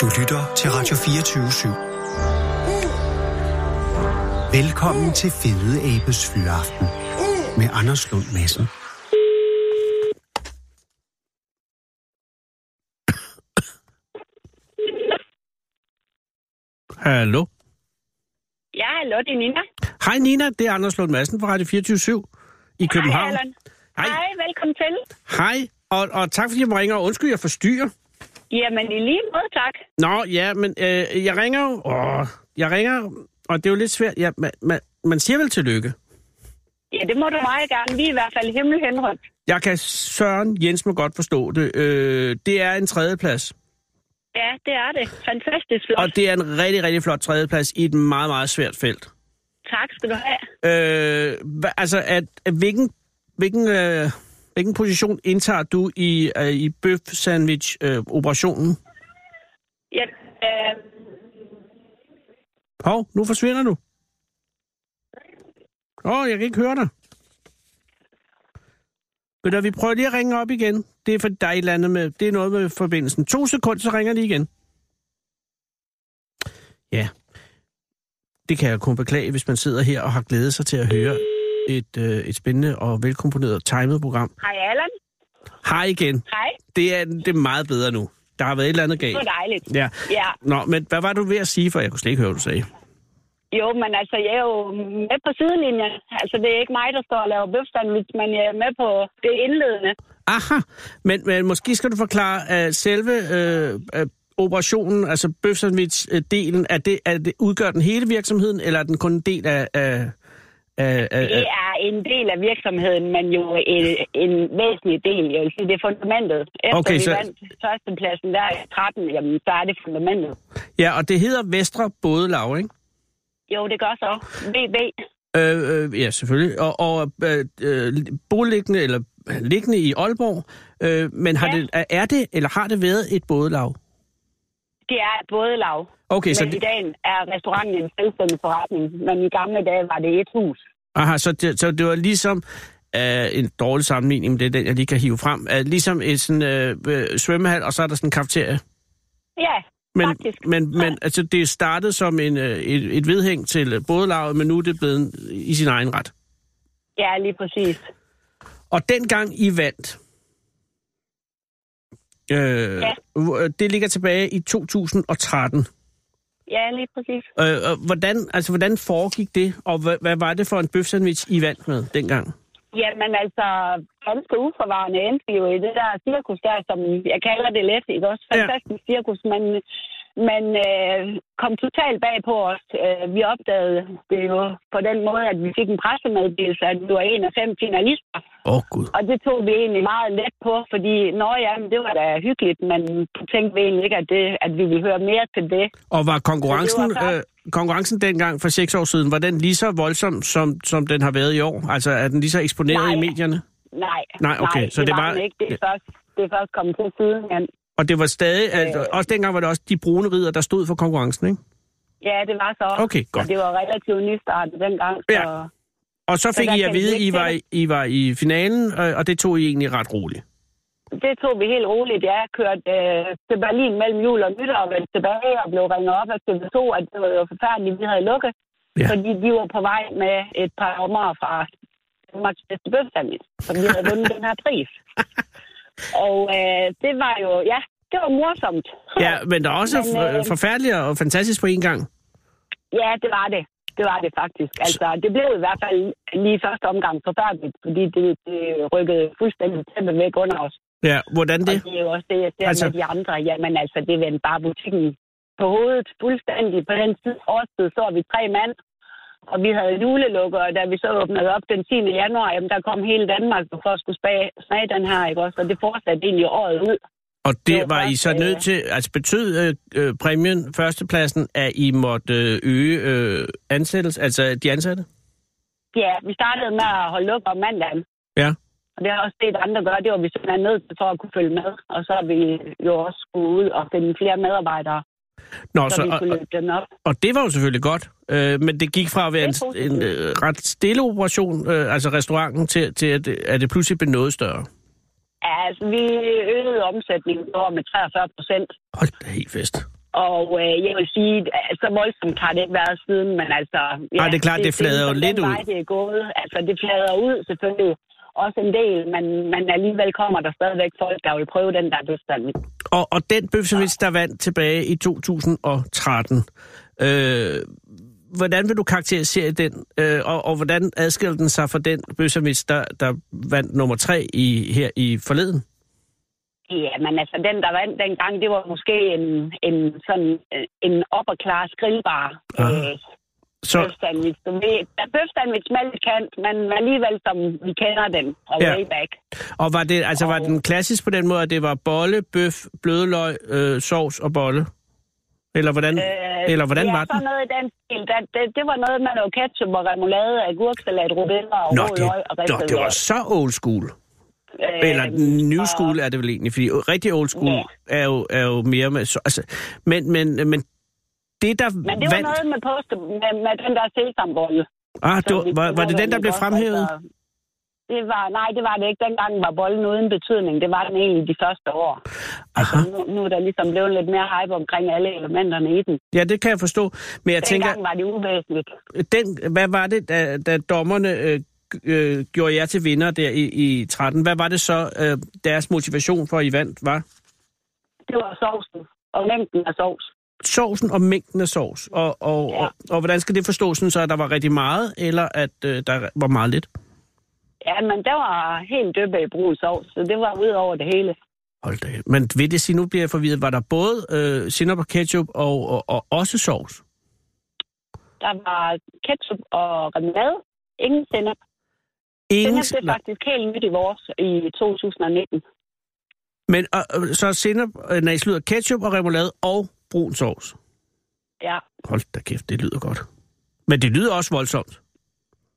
Du lytter til Radio 24 /7. Velkommen til Fede Abes Fyraften med Anders Lund Madsen. Hallo? Ja, hallo, det er Nina. Hej Nina, det er Anders Lund Madsen fra Radio 24 i København. Allan. Hej. Hej, velkommen til. Hej, og, og tak fordi jeg ringer, og undskyld, jeg forstyrrer. Jamen, i lige måde, tak. Nå, ja, men øh, jeg ringer jo, åh, jeg ringer, og det er jo lidt svært, ja, man, man, man siger vel tillykke? Ja, det må du meget gerne. Vi er i hvert fald himmelhenrødt. Jeg kan Søren Jens må godt forstå det. Øh, det er en tredjeplads. Ja, det er det. Fantastisk flot. Og det er en rigtig, rigtig flot tredjeplads i et meget, meget svært felt. Tak skal du have. Øh, hva, altså, at, at hvilken, hvilken, øh, hvilken position indtager du i, øh, i bøf-sandwich-operationen? Øh, ja, øh... Hov, nu forsvinder du. Åh, oh, jeg kan ikke høre dig. Ved du, vi prøver lige at ringe op igen. Det er for dig et eller andet med, det er noget med forbindelsen. To sekunder, så ringer de igen. Ja, det kan jeg kun beklage, hvis man sidder her og har glædet sig til at høre et, øh, et spændende og velkomponeret timet program. Hej Allan. Hej igen. Hej. Det er, det er meget bedre nu. Der har været et eller andet galt. Det var dejligt. Ja. ja. Nå, men hvad var du ved at sige, for jeg kunne slet ikke høre, hvad du sagde. Jo, men altså, jeg er jo med på sidelinjen. Altså, det er ikke mig, der står og laver bøfsandwich, men jeg er med på det indledende. Aha, men, men måske skal du forklare uh, selve uh, uh, operationen, altså bøfsandwich-delen, er det, er det, udgør den hele virksomheden, eller er den kun en del af... af uh, Uh, uh, uh. Det er en del af virksomheden, men jo en, en væsentlig del. Jeg vil sige, det er fundamentet. Efter okay, vi så... vandt førstepladsen der i 13, jamen, så er det fundamentet. Ja, og det hedder Vestre Bådelav, ikke? Jo, det gør så. VB. Øh, øh, ja, selvfølgelig. Og, og øh, boliggende, eller øh, liggende i Aalborg, øh, men har ja. det, er det, eller har det været et bådelav? Det er et bådelav. Okay, men så det... i dag er restauranten en selvstændig forretning, men i gamle dage var det et hus. Aha, så det, så det var ligesom uh, en dårlig sammenligning, men det er den, jeg lige kan hive frem. Uh, ligesom et sådan, uh, svømmehal, og så er der sådan en kafeterie. Ja, men, faktisk. Men, men ja. altså, det startede som en, uh, et, et vedhæng til bådelavet, men nu er det blevet en, i sin egen ret. Ja, lige præcis. Og dengang I vandt, øh, ja. det ligger tilbage i 2013. Ja, lige præcis. Øh, og hvordan, altså, hvordan foregik det, og hvad, hvad var det for en bøfsandwich, I vandt med dengang? Jamen altså, ganske uforvarende endte vi jo i det der cirkus der, som jeg kalder det let, ikke også? Fantastisk ja. cirkus, men, men øh, kom totalt bag på os. Øh, vi opdagede det jo på den måde, at vi fik en pressemeddelelse, at vi var en af fem finalister. Åh, oh, Gud. Og det tog vi egentlig meget let på, fordi, nå ja, men det var da hyggeligt, men tænkte vi egentlig ikke, at, det, at vi ville høre mere til det. Og var konkurrencen... Så var øh, konkurrencen dengang for seks år siden, var den lige så voldsom, som, som den har været i år? Altså, er den lige så eksponeret nej. i medierne? Nej, nej, okay. nej så det, det var, var ikke. Det er, først, det er først kommet til siden. Men... Og det var stadig, øh... altså, også dengang var det også de brune ridder, der stod for konkurrencen, ikke? Ja, det var så. Okay, godt. Og det var relativt nystartet dengang. Så... Ja. Og så fik så I at vide, I var, I, I var i finalen, øh, og det tog I egentlig ret roligt. Det tog vi helt roligt. Jeg kørte øh, til Berlin mellem jul og nytår og vendte tilbage og blev ringet op af TV2, at det var jo forfærdeligt, vi havde lukket. Ja. Fordi de var på vej med et par ommer fra Danmarks bedste bøfsandwich, som vi havde vundet den her pris. Og øh, det var jo, ja, det var morsomt. ja, men der er også men, øh, forfærdeligt og fantastisk på en gang. Ja, det var det. Det var det faktisk. Altså, det blev i hvert fald lige første omgang forfærdeligt, fordi det, det rykkede fuldstændig tæppe væk under os. Ja, hvordan det? Og det er jo også det, jeg ser altså... med de andre. Jamen altså, det vendte bare butikken på hovedet fuldstændig. På den tid, årstid så vi tre mand, og vi havde julelukker, og da vi så åbnede op den 10. januar, jamen der kom hele Danmark for at skulle smage, smage den her, ikke også? Og det fortsatte egentlig året ud. Og det, det var, var I så nødt til, altså betød øh, præmien, førstepladsen, at I måtte øge øh, ansættelse, altså de ansatte? Ja, vi startede med at holde lukket om mandagen. Ja. Og det har også set andre gøre, det var vi simpelthen nødt til for at kunne følge med. Og så har vi jo også skulle ud og finde flere medarbejdere, Nå, så, så vi kunne løbe dem op. Og det var jo selvfølgelig godt, øh, men det gik fra at være en, en øh, ret stille operation, øh, altså restauranten, til, til at, at det pludselig blev noget større. Ja, altså vi øgede omsætningen over med 43 procent. Hold da helt fest. Og øh, jeg vil sige, at så voldsomt har det ikke været siden, men altså... Ja, Ej, det er klart, det, det flader jo lidt den ud. Vej, det er gået. Altså, det flader ud selvfølgelig også en del, men, men alligevel kommer der stadigvæk folk, der vil prøve den der bøfstand. Og, og den bøfsemits, der vandt tilbage i 2013, øh, hvordan vil du karakterisere den, øh, og, og hvordan adskiller den sig fra den bøfsemits, der, der vandt nummer tre i, her i forleden? Ja, men altså den, der vandt dengang, det var måske en, en sådan øh, en upper class grillbar. Ah. Øh, Så, Bøfsandwich. Du ved, der er bøfsandwich med lidt kant, men alligevel som vi kender den fra Ja. ja. way back. og var, det, altså, var den klassisk på den måde, at det var bolle, bøf, blødløg, øh, sovs og bolle? Eller hvordan, øh, eller hvordan ja, var den? Sådan noget i den stil. Der, det, det, var noget med noget ketchup og remoulade, agurksalat, rubeller og Nå, rød det, løg og nå, ristet det var løg. så old school. Øh, Eller new school er det vel egentlig, fordi rigtig old school Ja. er, jo, er jo mere med... så- Altså, men, men, men det, der Men det var vandt... noget med, post, med, med den der sesambolle. ah, det som var, vi var, var det bruger den, der i blev vores, fremhævet? altså, Det var, nej, det var det ikke. Dengang var bolden uden betydning. Det var den egentlig de første år. Aha. Nu, nu er der ligesom blevet lidt mere hype omkring alle elementerne i den. Ja, det kan jeg forstå. Men jeg tænker, Dengang var det uvæsentligt. den, hvad var det, da, da dommerne øh, g- øh, gjorde jer til vinder der i, i 13? Hvad var det så, øh, deres motivation for, at I vandt, var? Det var sovsen og mængden af sovs. Sovsen og mængden af sovs. Og, og, Ja. og, og hvordan skal det forstås, sådan så at der var rigtig meget, eller at øh, der var meget lidt? Ja, men der var helt døbe i brun sovs, så det var ud over det hele. Hold da. kæft. Men vil det sige, nu bliver jeg forvirret, var der både øh, sinop og ketchup og, og, og også sovs? Der var ketchup og remoulade. Ingen sennep. Ingen, Sennep det er faktisk helt nyt i vores i 2019. men og, og, så sinop, øh, nej, slutter ketchup og remoulade og brun sovs. Ja. Hold da kæft, det lyder godt. Men det lyder også voldsomt.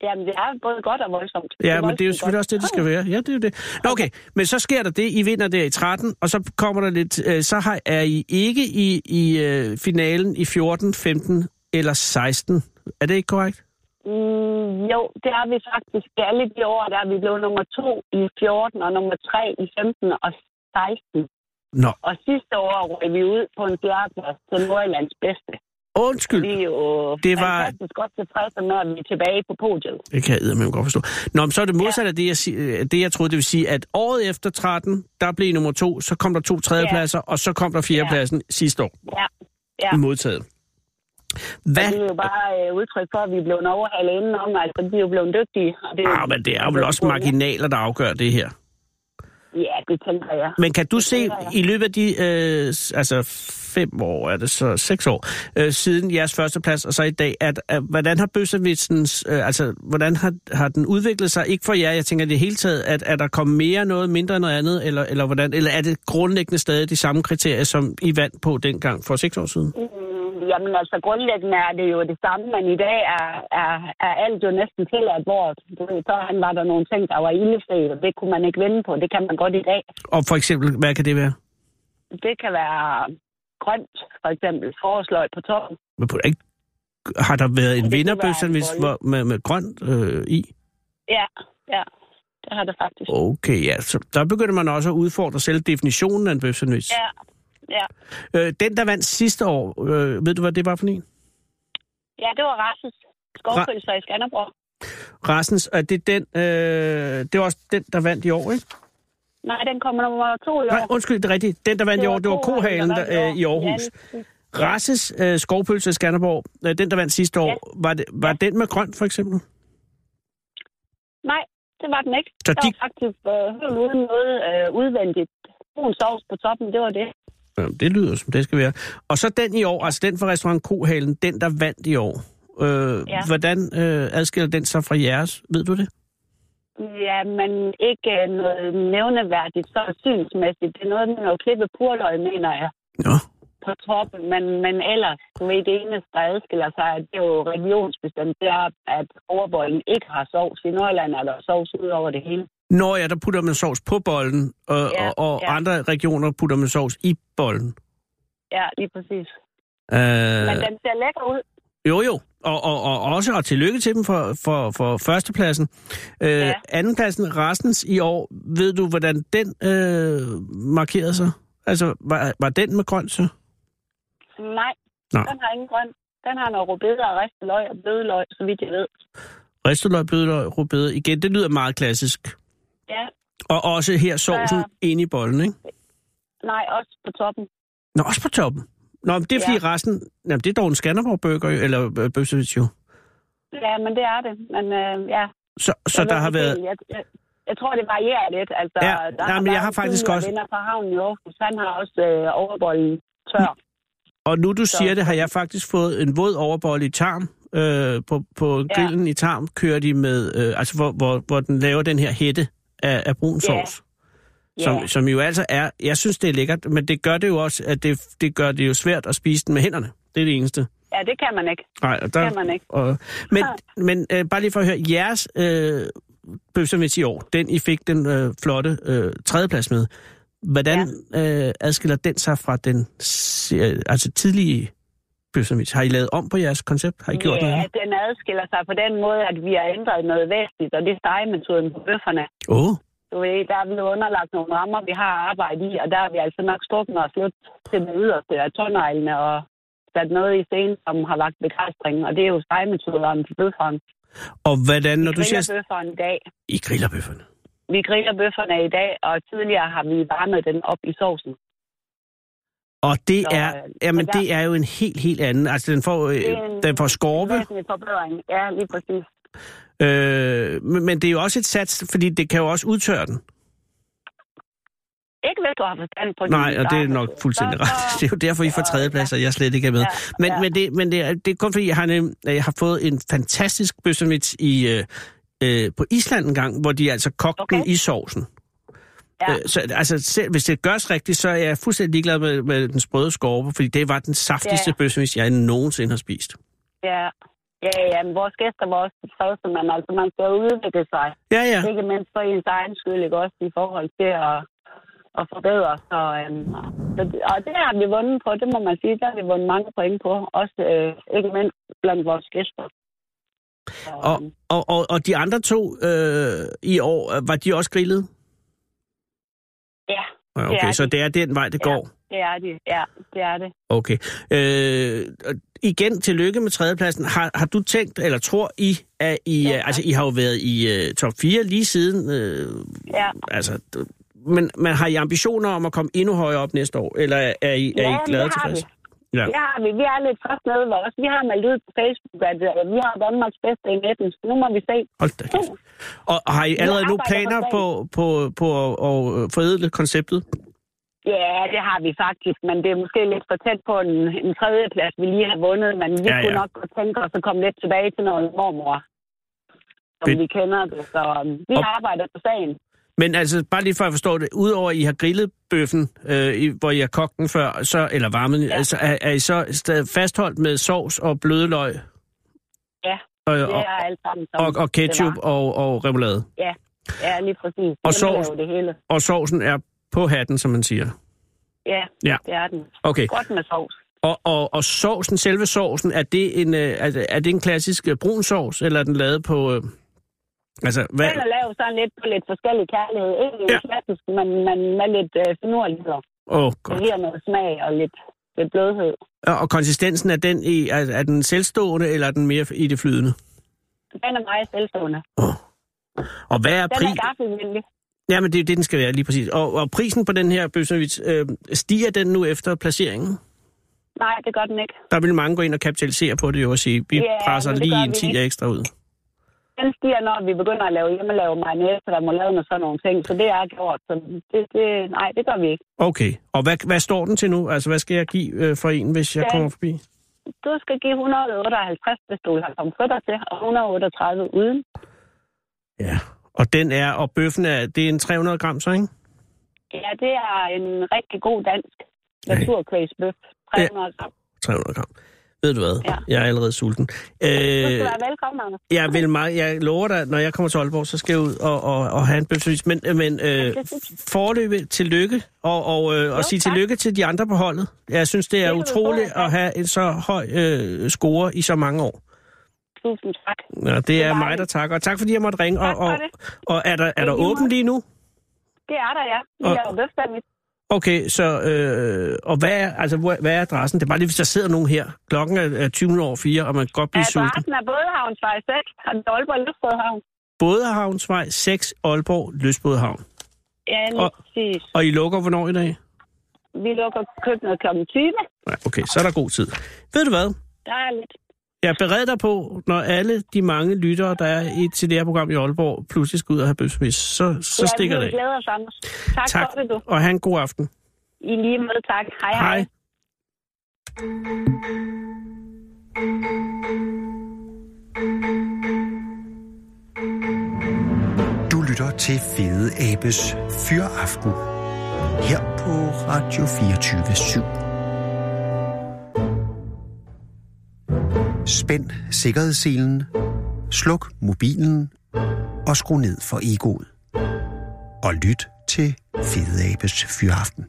Jamen, det er både godt og voldsomt. Ja, men det er jo voldsomt selvfølgelig godt. også det, det skal være. Ja, det er jo det. Nå, okay, men så sker der det, I vinder der i 13, og så kommer der lidt, øh, så har, er I ikke i, i øh, finalen i 14, 15 eller 16. Er det ikke korrekt? Mm, jo, det er vi faktisk. Det er alle de år, der er vi blevet nummer to i 14 og nummer tre i 15 og 16. Nå, Og sidste år røg vi ud på en fjerdeplads til Nordjyllands bedste. undskyld. Vi er jo Det det var- var... fantastisk godt tilfredse med, at vi er tilbage på podiet. Det kan jeg med godt forstå. Nå, men så er det modsat af det jeg, si- øh, det, jeg troede, det vil sige, at året efter 13, der blev I nummer to, så kom der to tredjepladser, og så kom der fjerdepladsen sidste år. Ja. Ja, Modtaget. og det Hvad? er jo bare øh, udtryk for, at vi er blevet overhalet indenom, altså vi er jo blevet dygtige. Og det, Ah, men det er vel også marginaler, der afgør det her. Ja, det tænker jeg. Men kan du se tænker jeg. i løbet af de øh, s- altså fem år, er det så seks år, øh, siden jeres førsteplads og så i dag, at, at hvordan har bøssevitsens, øh, altså hvordan har, har den udviklet sig? Ikke for jer, jeg tænker i det hele taget, at er der kommet mere noget, mindre end noget andet, eller, eller, hvordan, eller er det grundlæggende stadig de samme kriterier, som I vandt på dengang for seks år siden? Mm, Jamen altså, grundlæggende er det jo det samme, men i dag er, er, er alt jo næsten til at bort. Du ved, så han var der nogle ting, der var ildefri, og det kunne man ikke vinde på. Det kan man godt i dag. Og for eksempel, hvad kan det være? Det kan være grønt, for eksempel forårsløg på toppen. Men på- ikke- Har der været en Det kunne være vinderbøssevits en bolle. hvor- med, med grønt øh, i? Ja, ja. Det har det faktisk. Okay, ja. Så der begynder man også at udfordre selv definitionen af en bøfsandwich. Ja, ja. Øh, den, der vandt sidste år, øh, ved du, hvad det var for en? Ja, det var Rasmus. Skovpølser i Skanderborg. Rassens, og det er den, øh, det var også den, der vandt i år, ikke? Nej, den kommer nummer to i år. Nej, undskyld, det er rigtigt. Den, der vandt i år, det var Kohalen der, øh, i Aarhus. Ja, Rasses øh, skovpølse i Skanderborg, øh, den, der vandt sidste år, var, det, var den med grønt, for eksempel? nej, det var den ikke. Så Så de... de- Det var faktisk øh, helt uden noget øh, udvendigt. Brun sovs på toppen, det var det. Jamen, det lyder, som det skal være. Og så den i år, altså den fra restaurant Kohalen, den, der vandt i år. Øh, Ja. Hvordan øh, adskiller den sig fra jeres? Ved du det? Ja, men ikke øh, noget nævneværdigt, så synsmæssigt. Det er noget med noget klippe purløg, mener jeg, Nå. på toppen. Men, men ellers, du ved, det eneste, der adskiller sig, at det er jo regionsbestemt, det er, at overbollen ikke har sovs. I Nordjylland er der sovs ud over det hele. Når ja, der putter man sovs på bollen, øh, Ja, og, og ja. andre regioner putter man sovs i bollen. Ja, lige præcis. Men Øh, den ser lækker ud. jo, jo. Og, og, og også, og tillykke til dem for, for, for førstepladsen. Øh, Ja. Andenpladsen, Rastens i år, ved du, hvordan den øh, markerede sig? Altså, var, var den med grønt så? Nej, Nej. den har ingen grøn. Den har noget rødbeder og risteløg og blødløg, så vidt jeg ved. Risteløg, blødløg, rubede. Igen, det lyder meget klassisk. Ja, Og også her sovsen Ja. ind i bollen, ikke? nej, også på toppen. Nå, også på toppen. Nå, men det er fordi ja. resten... Jamen, det er dog en Skanderborg-burger, jo, eller øh, bøfsevits jo. Ja, men det er det. Men øh, ja, Så, så Jeg der ved har ikke været... helt. Jeg, jeg, jeg tror, det varierer lidt. Altså, Ja, der nej, har men jeg været har faktisk tidligere også- venner fra havnen i Aarhus, han har også øh, overbollen tør. Og nu du siger det, har jeg faktisk fået en våd overbolle i tarm. Øh, på, på Ja. grillen i tarm kører de med... Øh, altså, hvor, hvor, hvor den laver den her hætte af, af brun Ja. sovs. Som, Ja. som jo altså er... Jeg synes, det er lækkert, men det gør det jo også, at det, det gør det jo svært at spise den med hænderne. Det er det eneste. ja, det kan man ikke. Nej, og der, Kan man ikke. Og, men men øh, bare lige for at høre, jeres øh, bøfsemvits i år, den I fik den øh, flotte øh, tredjeplads med, hvordan ja. øh, adskiller den sig fra den se- øh, altså tidlige bøfsemvits? Har I lavet om på jeres koncept? Har I gjort noget ja, andet? den adskiller sig på den måde, at vi har ændret noget væsentligt, og det er stegemetoden på bøfferne. Åh, oh, Du ved, der er blevet underlagt nogle rammer, vi har arbejdet i, og der har vi altså nok strukket os lidt til det yderste af tårneglene og sat noget i scenen, som har lagt begejstring, og det er jo stegemetoderne på bøfferen. og hvordan, når Vi du griller siger... bøfferen i dag, I griller bøfferne. Vi griller bøfferne i dag, og tidligere har vi varmet den op i sovsen. Og det Så, er, øh, jamen, og der- det er jo en helt, helt anden. Altså, den får, øh, Det er en- den får Det skorpe, er en forbedring. Ja, lige præcis. øh, men men det er jo også et sats, fordi det kan jo også udtørre den. Ikke hvis du har forstand på Nej, din og det er start. nok fuldstændig Så- så- ret. Det er jo derfor, I får tredjeplads, og jeg slet ikke er med. Ja, Men, ja. men, det, men det, er, det er kun fordi, jeg har, nem- jeg har fået en fantastisk bøssemits i, øh, øh, på Island en gang, hvor de altså kogte okay. den Okay. i sovsen. Ja. Øh, så, altså, selv, hvis det gørs rigtigt, så er jeg fuldstændig ligeglad med, med den sprøde skorpe, fordi det var den saftigste Ja. ja. bøssemits, jeg nogensinde har spist. Ja, ja, ja men vores gæster var også tilfredse, men altså, man skal jo udvikle sig. Ja, ja. Ikke mindst for ens egen skyld, ikke også i forhold til at, at forbedre sig. øhm, så det- Og det har vi vundet på, det må man sige. Der har vi vundet mange point på, også øh, ikke mindst blandt vores gæster. Så, Og, øhm, og, og, og de andre to øh, i år, øh, var de også grillet? Ja, Ja, Det Okay, er så de. det er den vej, det Ja. går. det er det. Ja, det er det. Okay. Øh, og igen, tillykke med tredjepladsen. Har, har du tænkt, eller tror I, at I... Ja, Ja, tak. altså, I har jo været i uh, top 4 lige siden... Øh, Ja. altså, d- men, men har I ambitioner om at komme endnu højere op næste år? Eller er, er I, er Ja, I glade det har tilfredse? Ja. Ja. Det har vi. Vi er lidt først nede ved os. Vi har meldt ud på Facebook, at øh, vi har Danmarks bedste i 19, så nu må vi se. Hold da kæft. Og, og har I allerede nu arbejder planer på på, på, på, at, at forædle konceptet? Ja, det har vi faktisk, men det er måske lidt for tæt på en, en tredjeplads, vi lige har vundet, men vi Ja, ja, ja. kunne nok godt tænke os at komme lidt tilbage til noget mormor, som Det- vi kender det. Så um, vi Og- arbejder på sagen. Men altså, bare lige for at forstå det, udover at I har grillet bøffen, øh, i- hvor I har kogt den før, så, eller varmet den, Ja. ja. altså, er, er I så stadig fastholdt med sovs og blødløg? Ja, Og, Det og, er alt sammen som og, og ketchup det var. og, og remoulade. Ja, lige præcis. Og Vi sovs. laver Det hele. Og sovsen er på hatten, som man siger. Ja, Ja. det er den. Okay, Godt med sovs. og, og, og sovsen, selve sovsen, er det en, øh, er, er det en klassisk øh, brun sovs, eller er den lavet på... Øh, altså, hvad? Den er lavet sådan lidt på lidt forskellig kærlighed. Ikke Ja. ja. klassisk, men, men med lidt øh, finurligheder. Åh, oh, Det godt. giver noget smag og lidt, lidt blødhed. Og, og konsistensen, er den, i, er, er den selvstående, eller er den mere i det flydende? Den er meget selvstående. Og hvad er Den er prisen? gaffelvenlig. Ja, men det er jo det, den skal være, lige præcis. Og, og prisen på den her bøsnevits, øh, stiger den nu efter placeringen? Nej, det gør den ikke. Der vil mange gå ind og kapitalisere på det jo og sige, vi Ja, yeah, presser men det gør lige en vi 10 ikke. ekstra ud. Den stiger, når vi begynder at lave hjemmelavet marinette, der må lave noget sådan nogle ting. Så det er gjort. Så det, det, nej, det gør vi ikke. Okay, og hvad, hvad står den til nu? Altså, hvad skal jeg give øh, for en, hvis jeg Ja. kommer forbi? Du skal give 158, hvis du vil have komfritter til, og 138 uden. Ja. Og den er, og bøffen er, det er en 300 gram, så ikke? Ja, det er en rigtig god dansk Ja. naturkvægsbøf. 300 gram. 300 gram. Ved du hvad? Ja. Jeg er allerede sulten. Du Øh, skal være velkommen, Anders. jeg vil meget, jeg lover dig, når jeg kommer til Aalborg, så skal jeg ud og, og, og have en bøfsevis. Men, men øh, forløbe tillykke, og, og, øh, Jo, og sige tak. tillykke til de andre på holdet. Jeg synes, det er Det kan du tro, utroligt ja. at have en så høj øh, score i så mange år. Tusind tak. Ja, det er dejligt. mig, der takker. Og tak fordi jeg måtte ringe. Tak Og, for og, det. og er der, er er der lige åben meget. lige nu? Det er der, ja. Vi Og- laver bøf Okay, så øh, og hvad er, altså, hvor- hvad er adressen? Det er bare lige, hvis der sidder nogen her. Klokken er, er 20 over 4, og man kan godt blive sulten. Adressen er Bådehavnsvej 6 og den er Aalborg Lufthavn. Bådehavnsvej 6, Aalborg, Løsbådehavn. Ja, lige Og- præcis. Og I lukker hvornår i dag? Vi lukker køkkenet kl. 20. Ja, okay, så er der god tid. Ved du hvad? Der er lidt. Jeg bereder dig på, når alle de mange lyttere, der er i, til det her program i Aalborg, pludselig skal ud og have bøfsmæs, så, så Ja, stikker vi det af. glæder os, Anders. Tak, tak, for det, du. og have en god aften. I lige måde, tak. Hej, hej. Hej. Du lytter til Fede Abes Fyraften her på Radio 24 Spænd sikkerhedsselen, sluk mobilen og skru ned for egoet. Og lyt til Fede Abes Fyraften.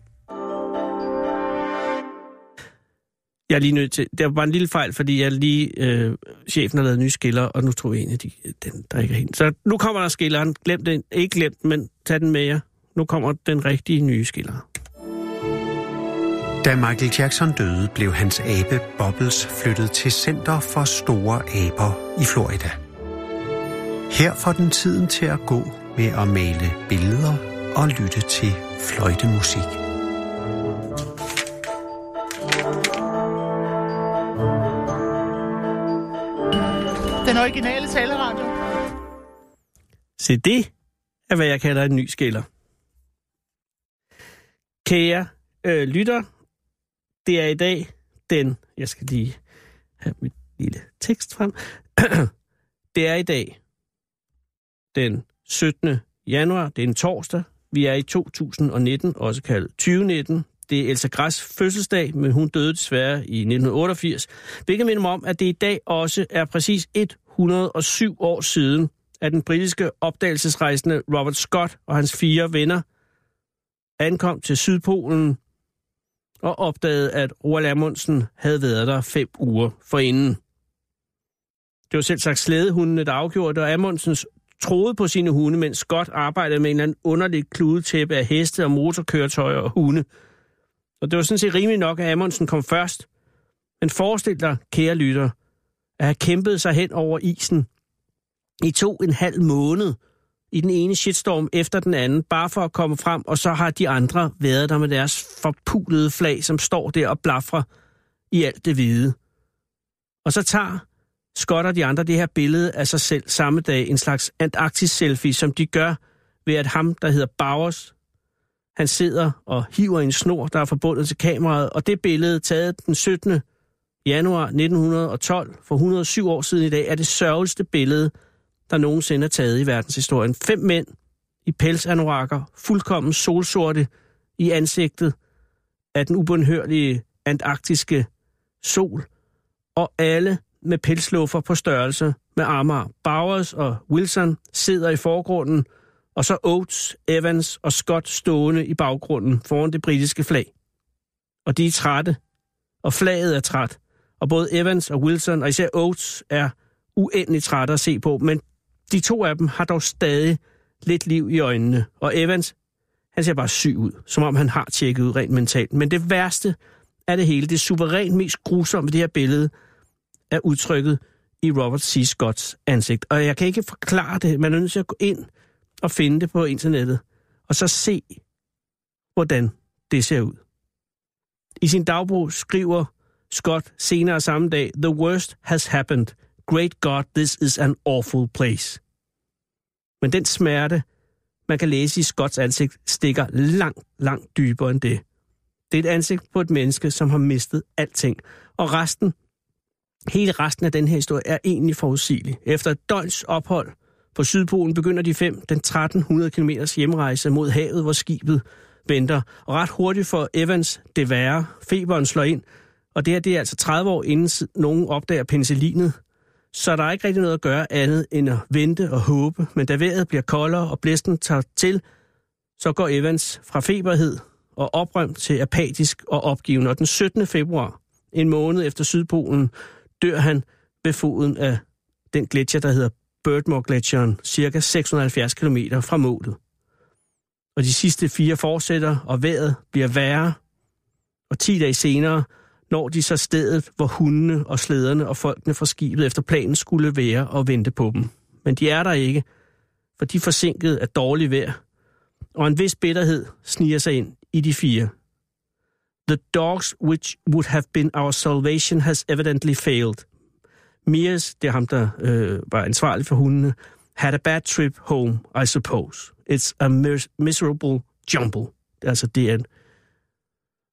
Jeg er lige nødt til... Der var bare en lille fejl, fordi jeg lige... Øh, chefen har lavet nye skiller, og nu tror jeg en af de, den, der ikke er hende. Så nu kommer der skilleren. Glem den. Ikke glem den, men tag den med jer. Nu kommer den rigtige nye skiller. Da Michael Jackson døde, blev hans abe Bubbles flyttet til Center for Store Aber i Florida. Her får den tiden til at gå med at male billeder og lytte til fløjtemusik. Den originale taleradio. Se, det er, hvad jeg kalder en ny skiller. Kære øh, lytter, det er i dag den... Jeg skal lige have mit lille tekst frem. det er i dag den 17. januar. Det er en torsdag. Vi er i 2019, også kaldet 2019. Det er Elsa Græs fødselsdag, men hun døde desværre i 1988. Hvilket minder mig om, at det i dag også er præcis 107 år siden, at den britiske opdagelsesrejsende Robert Scott og hans fire venner ankom til Sydpolen og opdagede, at Roald Amundsen havde været der fem uger forinden. Det var selv sagt slædehundene, der afgjorde det, og Amundsens troede på sine hunde, mens Scott arbejdede med en eller anden underlig kludetæppe af heste og motorkøretøjer og hunde. Og det var sådan set rimeligt nok, at Amundsen kom først. Men forestil dig, kære lytter, at have kæmpet sig hen over isen i to en halv måned i den ene shitstorm efter den anden, bare for at komme frem, og så har de andre været der med deres forpulede flag, som står der og blafrer i alt det hvide. Og så tager Scott og de andre det her billede af sig selv samme dag, en slags Antarktis-selfie, som de gør ved, at ham, der hedder Bowers, han sidder og hiver i en snor, der er forbundet til kameraet, og det billede, taget den 17. januar 1912, for 107 år siden i dag, er det sørgeligste billede, der nogensinde er taget i verdenshistorien. Fem mænd i pelsanurakker, fuldkommen solsorte i ansigtet af den ubundhørlige antarktiske sol, og alle med pelsluffer på størrelse med Amager. Bowers og Wilson sidder i forgrunden, og så Oates, Evans og Scott stående i baggrunden foran det britiske flag. Og de er trætte, og flaget er træt, og både Evans og Wilson og især Oates er uendelig trætte at se på, men de to af dem har dog stadig lidt liv i øjnene. Og Evans, han ser bare syg ud, som om han har tjekket ud rent mentalt. Men det værste af det hele, det suverænt mest grusomme ved det her billede, er udtrykket i Robert C. Scotts ansigt. Og jeg kan ikke forklare det. Man er nødt til at gå ind og finde det på internettet, og så se, hvordan det ser ud. I sin dagbog skriver Scott senere samme dag, The worst has happened. Great God, this is an awful place. Men den smerte, man kan læse i Scotts ansigt, stikker langt, langt dybere end det. Det er et ansigt på et menneske, som har mistet alting. Og resten, hele resten af den her historie, er egentlig forudsigelig. Efter et døgns ophold på Sydpolen begynder de fem den 1300 km hjemrejse mod havet, hvor skibet venter. Og ret hurtigt for Evans det værre. Feberen slår ind, og det her det er altså 30 år inden s- nogen opdager penicillinet. Så der er ikke rigtig noget at gøre andet end at vente og håbe. Men da vejret bliver koldere og blæsten tager til, så går Evans fra feberhed og oprømt til apatisk og opgivende. Og den 17. februar, en måned efter Sydpolen, dør han ved foden af den gletsjer, der hedder Birdmore-gletsjeren, cirka 670 km fra målet. og de sidste fire fortsætter, og vejret bliver værre. Og 10 dage senere når de så stedet, hvor hundene og slæderne og folkene fra skibet efter planen skulle være og vente på dem. Men de er der ikke, for de er forsinket af dårlig vejr, og en vis bitterhed sniger sig ind i de fire. The dogs which would have been our salvation has evidently failed. Mears, det er ham, der øh, var ansvarlig for hundene, had a bad trip home, I suppose. It's a mis- miserable jumble. Altså, det er en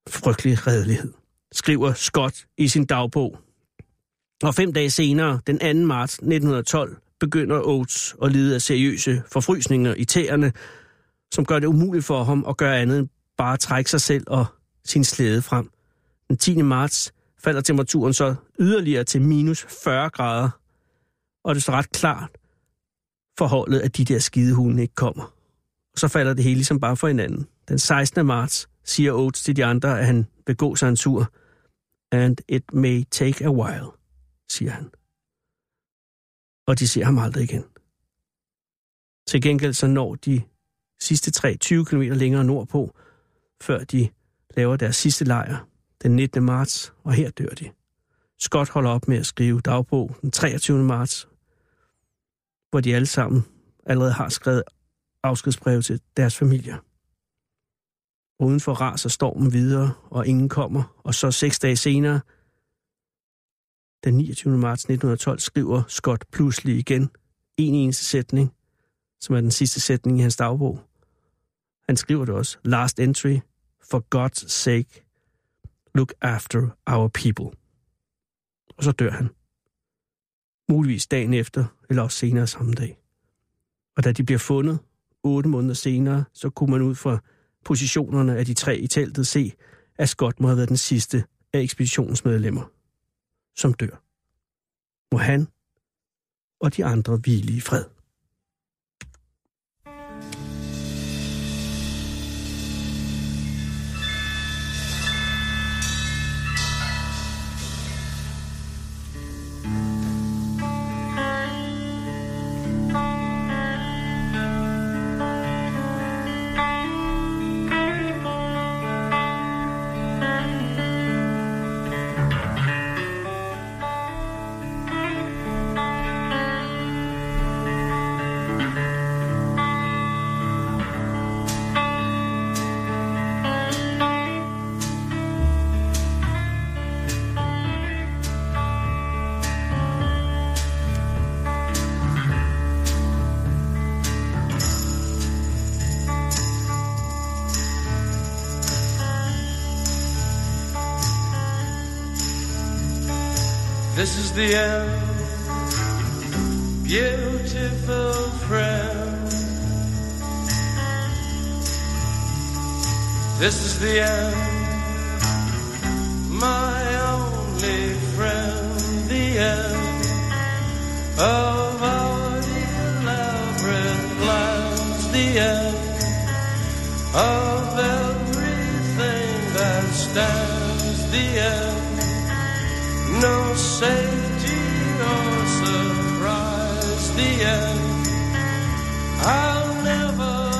frygtelig redelighed, skriver Scott i sin dagbog. Og fem dage senere, den 2. marts 1912, begynder Oates at lide af seriøse forfrysninger i tæerne, som gør det umuligt for ham at gøre andet end bare at trække sig selv og sin slæde frem. Den 10. marts falder temperaturen så yderligere til minus 40 grader, og det står ret klart for holdet, at de der skidehunde ikke kommer. Og så falder det hele ligesom bare for hinanden. Den 16. marts siger Oates til de andre, at han vil gå sig en tur. And it may take a while, siger han. Og de ser ham aldrig igen. Til gengæld så når de sidste 23 km længere nordpå, før de laver deres sidste lejr den 19. marts, og her dør de. Scott holder op med at skrive dagbog den 23. marts, hvor de alle sammen allerede har skrevet afskedsbrev til deres familier. Udenfor raser stormen videre, og ingen kommer, og så seks dage senere, den 29. marts 1912, skriver Scott pludselig igen en eneste sætning, som er den sidste sætning i hans dagbog. Han skriver det også, last entry, for God's sake, look after our people. Og så dør han. Muligvis dagen efter, eller også senere samme dag. Og da de bliver fundet, otte måneder senere, så kunne man ud fra positionerne af de tre i teltet se, at Scott må have været den sidste af ekspeditionsmedlemmer, som dør. Må han og de andre hvile i fred. This is the end, beautiful friend. This is the end, my only friend. The end of our elaborate plans. The end of everything that stands. The end no safety or surprise. The end. I'll never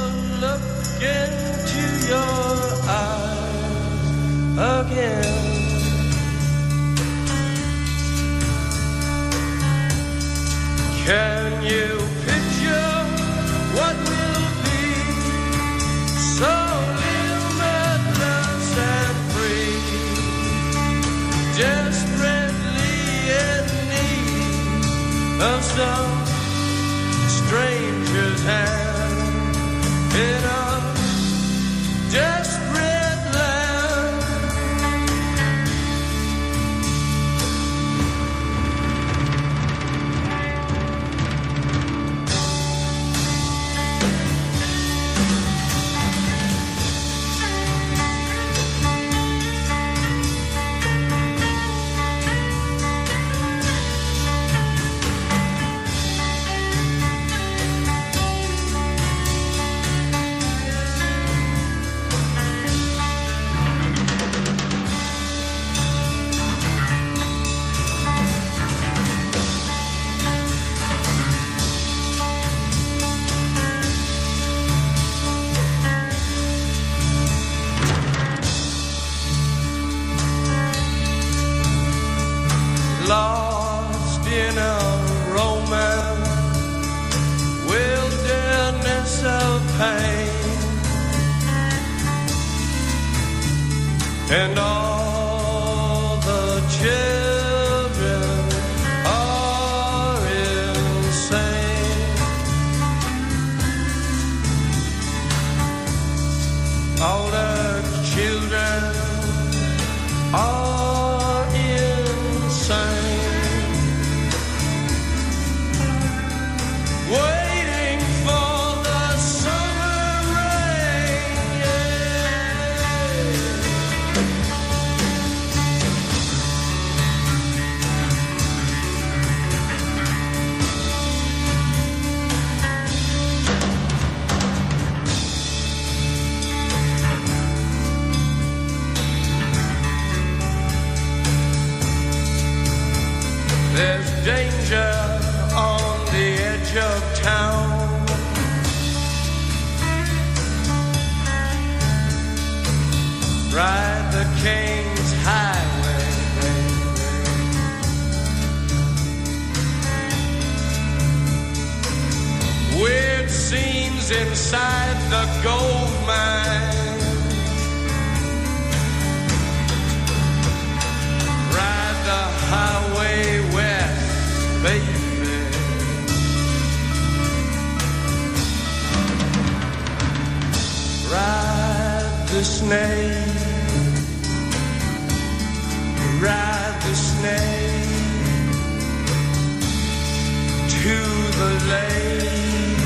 look into your eyes again. Can you picture what will be? So limitless and free. Desperate in need of some stranger's hand in a desperate land. lost in a romance wilderness of pain and all the children are insane all the children are insane waiting for the summer rain. There's danger on the edge of town. Ride the King's Highway. baby. Weird scenes inside the gold mine. Ride the highway west, baby. Ride the snake. Ride the snake to the lake,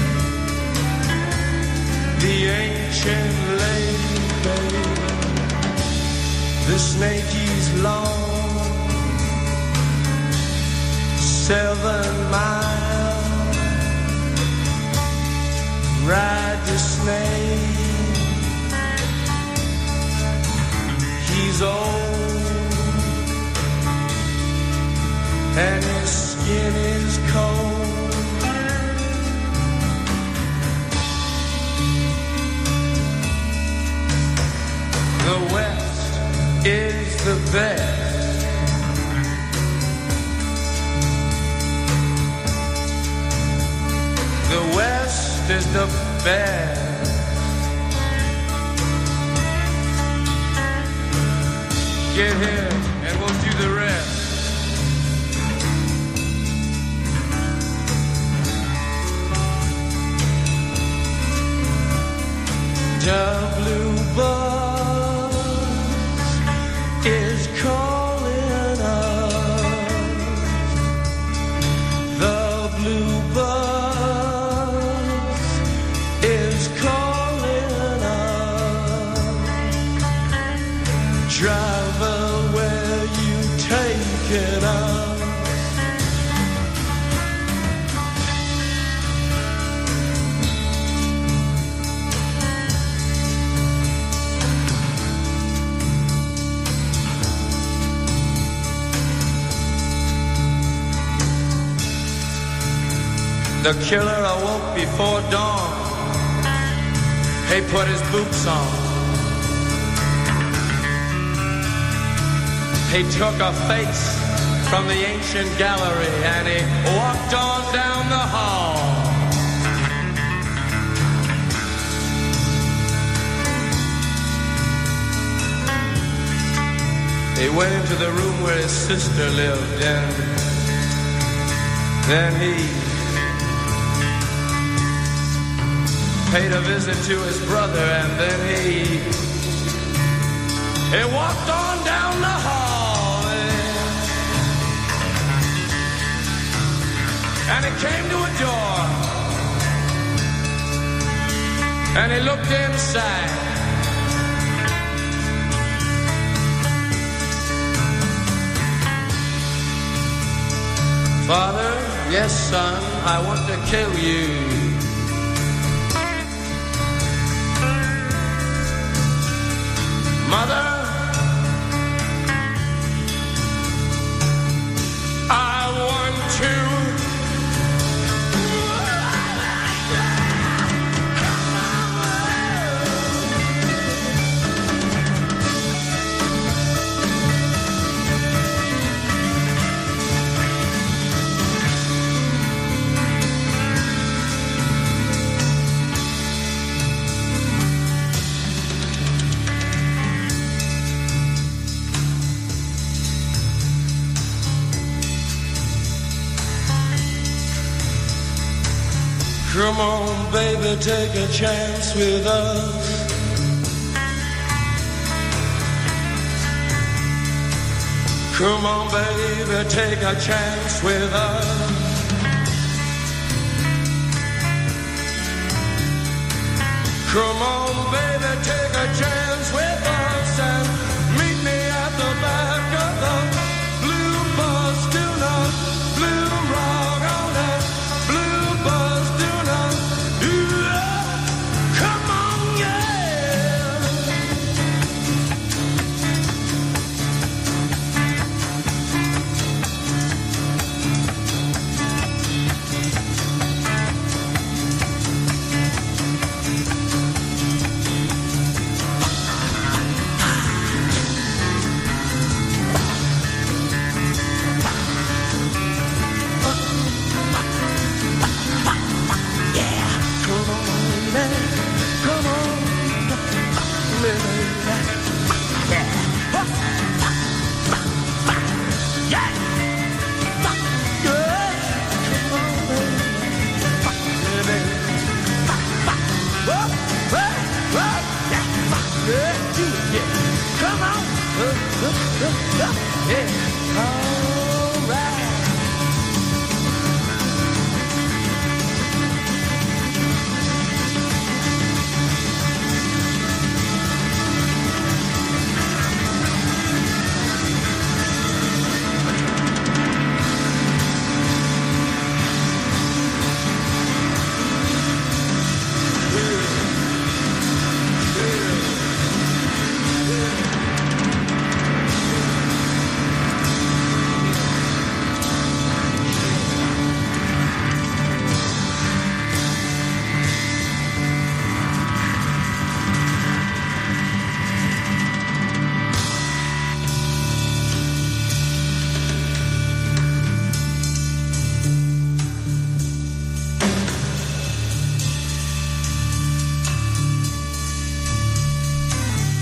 the ancient lake, baby. The snake is long, seven miles. Ride the snake. He's old, and his skin is cold. The West is the best. The West is the best. Get here and we'll do the rest. The blue bus is calling us. The blue bus is calling us. Driver, where you taking us? The killer awoke before dawn. He put his boots on. He took a face from the ancient gallery and he walked on down the hall. He went into the room where his sister lived and then he paid a visit to his brother, and then he he walked on down the hall, eh. and he came to a door, and he looked inside. Father, yes, son, I want to kill you. Mother, I want to. Come on, baby, take a chance with us. Come on, baby, take a chance with us. Come on, baby, take a chance with us and meet me at the back of the blue bus. Do not blue rock on that blue bus. Do not do that. Come on, yeah. Come on, baby. Come on, baby.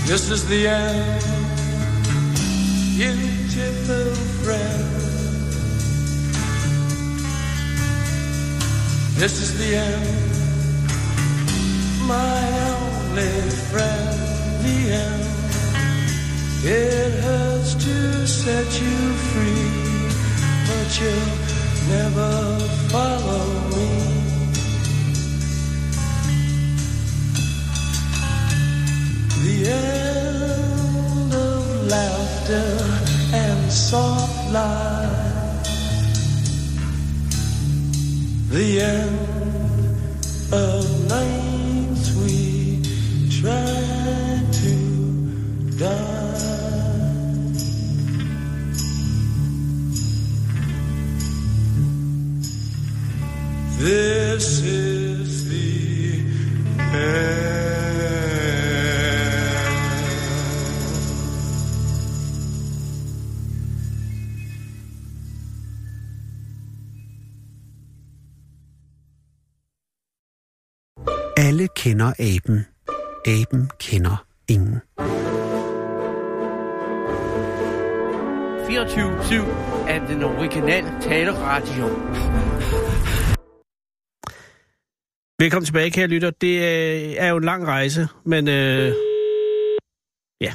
This is the end, beautiful friend. This is the end, my only friend. The end. It hurts to set you free, but you'll never follow me. The end of laughter and soft light. The end of nights we tried to die. This is the end. Alle kender aben. Aben kender ingen. 24-7 af den originale taleradio. Velkommen tilbage, kære lytter. Det øh, er jo en lang rejse, men øh, ja.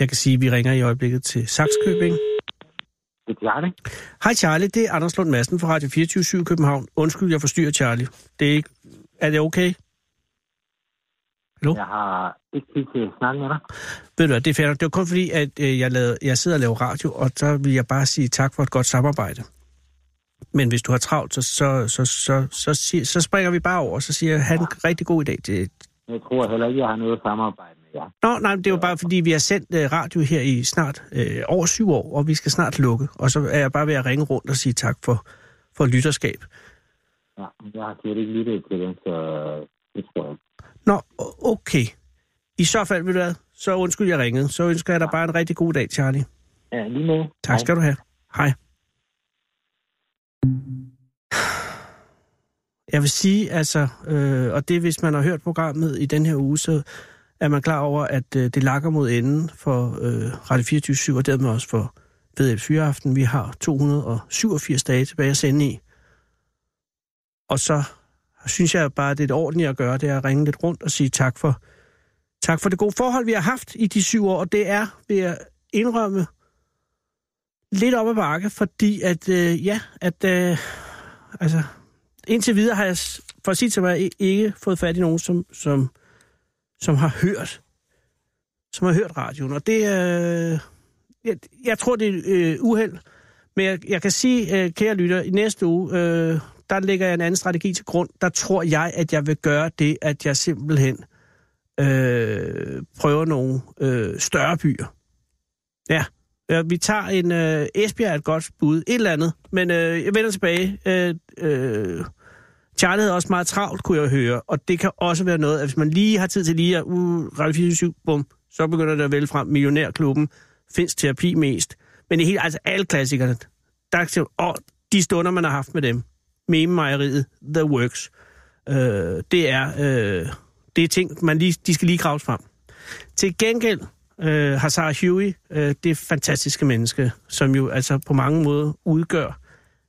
Jeg kan sige, at vi ringer i øjeblikket til Saxkøbing. Det er Charlie. Hej Charlie, det er Anders Lund Madsen fra Radio 24 København. Undskyld, jeg forstyrrer Charlie. Det er, ikke... er det okay? Jeg har ikke tid til at snakke med dig. Ved du hvad, det er fair nok. Det var kun fordi, at øh, jeg, lavede, jeg sidder og laver radio, og så vil jeg bare sige tak for et godt samarbejde. Men hvis du har travlt, så, så, så, så, så, sig- så springer vi bare over, og så siger jeg, han en rigtig god idé. Det, Jeg tror heller ikke, jeg har noget samarbejde med jer. Nå, nej, men det er jo bare, fordi vi har sendt øh, radio her i snart øh, over syv år, og vi skal snart lukke. Og så er jeg bare ved at ringe rundt og sige tak for, for lytterskab. Ja, jeg har slet ikke lyttet til den, så det tror jeg ikke. Nå, o- okay. I så fald, vil du hvad, så undskyld, jeg ringede. Så ønsker jeg dig bare en rigtig god dag, Charlie. Ja, lige med. Tak skal du have. Hej. Jeg vil sige, altså, øh, og det er, hvis man har hørt programmet i den her uge, så er man klar over, at øh, det lakker mod enden for øh, Radio 24 og dermed også for VF Fyreaften. Vi har 287 dage tilbage at sende i. Og så synes jeg bare, det er et ordentligt at gøre, det er at ringe lidt rundt og sige tak for, tak for det gode forhold, vi har haft i de syv år, og det er, vil jeg indrømme, lidt op ad bakke, fordi at, øh, ja, at, øh, altså, indtil videre har jeg, s- for at sige til mig, i- ikke fået fat i nogen, som, som, som har hørt, som har hørt radioen, og det, øh, jeg, jeg tror, det er øh, uheld, men jeg, jeg kan sige, øh, kære lytter, i næste uge, øh, der lægger jeg en anden strategi til grund. Der tror jeg, at jeg vil gøre det, at jeg simpelthen øh, prøver nogle øh, større byer. Ja. ja vi tager en... Øh, Esbjerg er et godt bud. Et eller andet. Men øh, jeg vender tilbage. Øh, øh, Charlie havde også meget travlt, kunne jeg høre. Og det kan også være noget, at hvis man lige har tid til lige at... Uh, Radio 24 bum, så begynder det at vælge frem. Millionærklubben. Finds terapi mest. Men i hele, altså alle klassikerne, der er til, og de stunder, man har haft med dem. Meme-mejeriet, The Works. Øh, det er, øh, det er ting, man lige, de skal lige graves frem. Til gengæld øh, har Sarah Huey, øh, det fantastiske menneske, som jo altså på mange måder udgør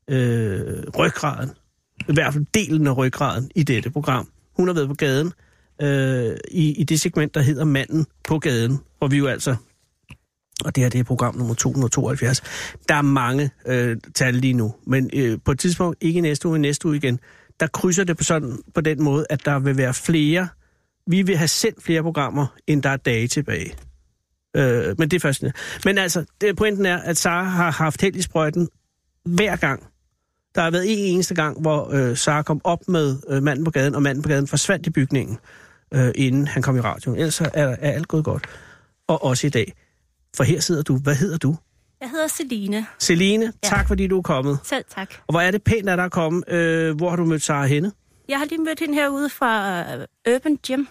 øh, ryggraden, i hvert fald delen af ryggraden i dette program. Hun har været på gaden øh, i, i det segment, der hedder Manden på gaden, hvor vi jo altså og det her det er program nummer 272. Der er mange øh, tal lige nu, men øh, på et tidspunkt, ikke i næste uge, men næste uge igen, der krydser det på, sådan, på den måde, at der vil være flere, vi vil have sendt flere programmer, end der er dage tilbage. Øh, men det er først. Men altså, det, pointen er, at Sara har haft held i sprøjten hver gang. Der har været en eneste gang, hvor øh, Sara kom op med øh, manden på gaden, og manden på gaden forsvandt i bygningen, øh, inden han kom i radioen. Ellers er, er alt gået godt. Og også i dag. For her sidder du. Hvad hedder du? Jeg hedder Celine. Celine, ja. Ja. tak fordi du er kommet. Selv tak. Og hvor er det pænt af dig at komme. Øh, hvor har du mødt Sara henne? Jeg har lige mødt hende herude fra øh, Urban Gym.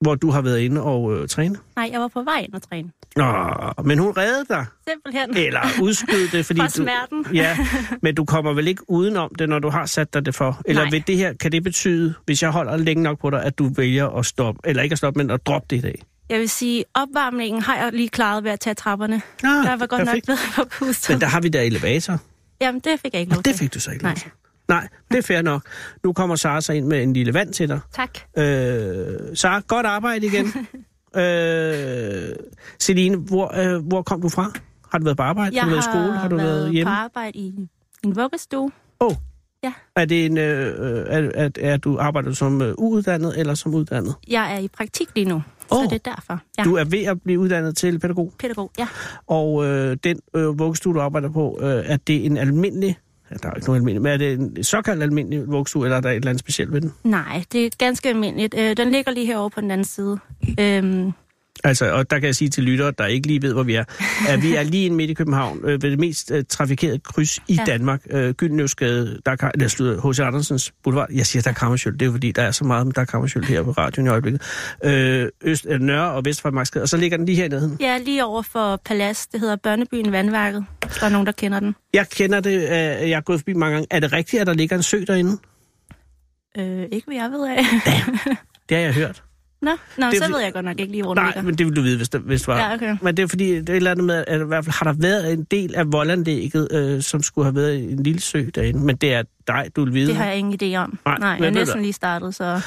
Hvor du har været inde og øh, træne. Nej, jeg var på vej ind og træne. Nå, men hun reddede dig. Simpelthen. Eller udskød det, fordi Fra smerten. du... Ja, men du kommer vel ikke udenom det, når du har sat dig det for? Eller Nej. ved det her, kan det betyde, hvis jeg holder længe nok på dig, at du vælger at stoppe, eller ikke at stoppe, men at droppe det i dag? Jeg vil sige, opvarmningen har jeg lige klaret ved at tage trapperne. Nå, der var godt Ah, perfekt. nok bedre på pustet. Men der har vi der elevator. Jamen, det fik jeg ikke lov Og det til. fik du så ikke. Nej. lov til. Nej, det er fair nok. Nu kommer Sara så ind med en lille vand til dig. Tak. Øh, Sara, godt arbejde igen. øh, Celine, hvor, øh, hvor kom du fra? Har du været på arbejde? Jeg har du været i skole? Har du været, været hjemme? på arbejde i en vuggestue. Åh. Oh. Ja. Er det en, øh, øh, er, er, er du arbejder du som øh, uuddannet eller som uddannet? Jeg er i praktik lige nu, Åh. så det er derfor. Ja. Du er ved at blive uddannet til pædagog, Pædagog, ja. og øh, den øh, vuggestue, du arbejder på, øh, er det en almindelig, ja, der er jo ikke nogen almindelig, men er det en såkaldt almindelig vuggestue, eller er der et eller andet specielt ved den? Nej, det er ganske almindeligt. Øh, den ligger lige herovre på den anden side. Øhm, Altså, og der kan jeg sige til lyttere, der ikke lige ved, hvor vi er, at vi er lige inde midt i København, øh, ved det mest øh, trafikerede kryds i ja. Ja. Danmark. Øh, Gyldenøvsgade, der kan, eller slutter, H.C. Andersens Boulevard. Jeg siger, der er Kammersjøl. Det er jo fordi, der er så meget, men der er Kammersjøl her på radioen i øjeblikket. Øh, øst, øh, Nørre og Vestfremarksgade, og så ligger den lige her nede. jeg er lige over for Palas. Det hedder Børnebyen Vandværket, hvis der er nogen, der kender den. Jeg kender det, øh, jeg er gået forbi mange gange. Er det rigtigt, at der ligger en sø derinde? Øh, ikke hvad jeg ved af. Det har jeg hørt. Nå, nå Det er det, så fordi- ved jeg godt nok ikke lige, hvor den Nej, ligger. men det vil du vide, hvis det, hvis det var. Ja, okay. Men det er fordi, det er et eller andet med, at i hvert fald har der været en del af voldanlægget, øh, som skulle have været i en lille sø derinde. Men det er dig, du vil vide. Det har jeg ingen idé om. Nej, Nej, Nej hvad jeg er ved næsten du? lige startet, så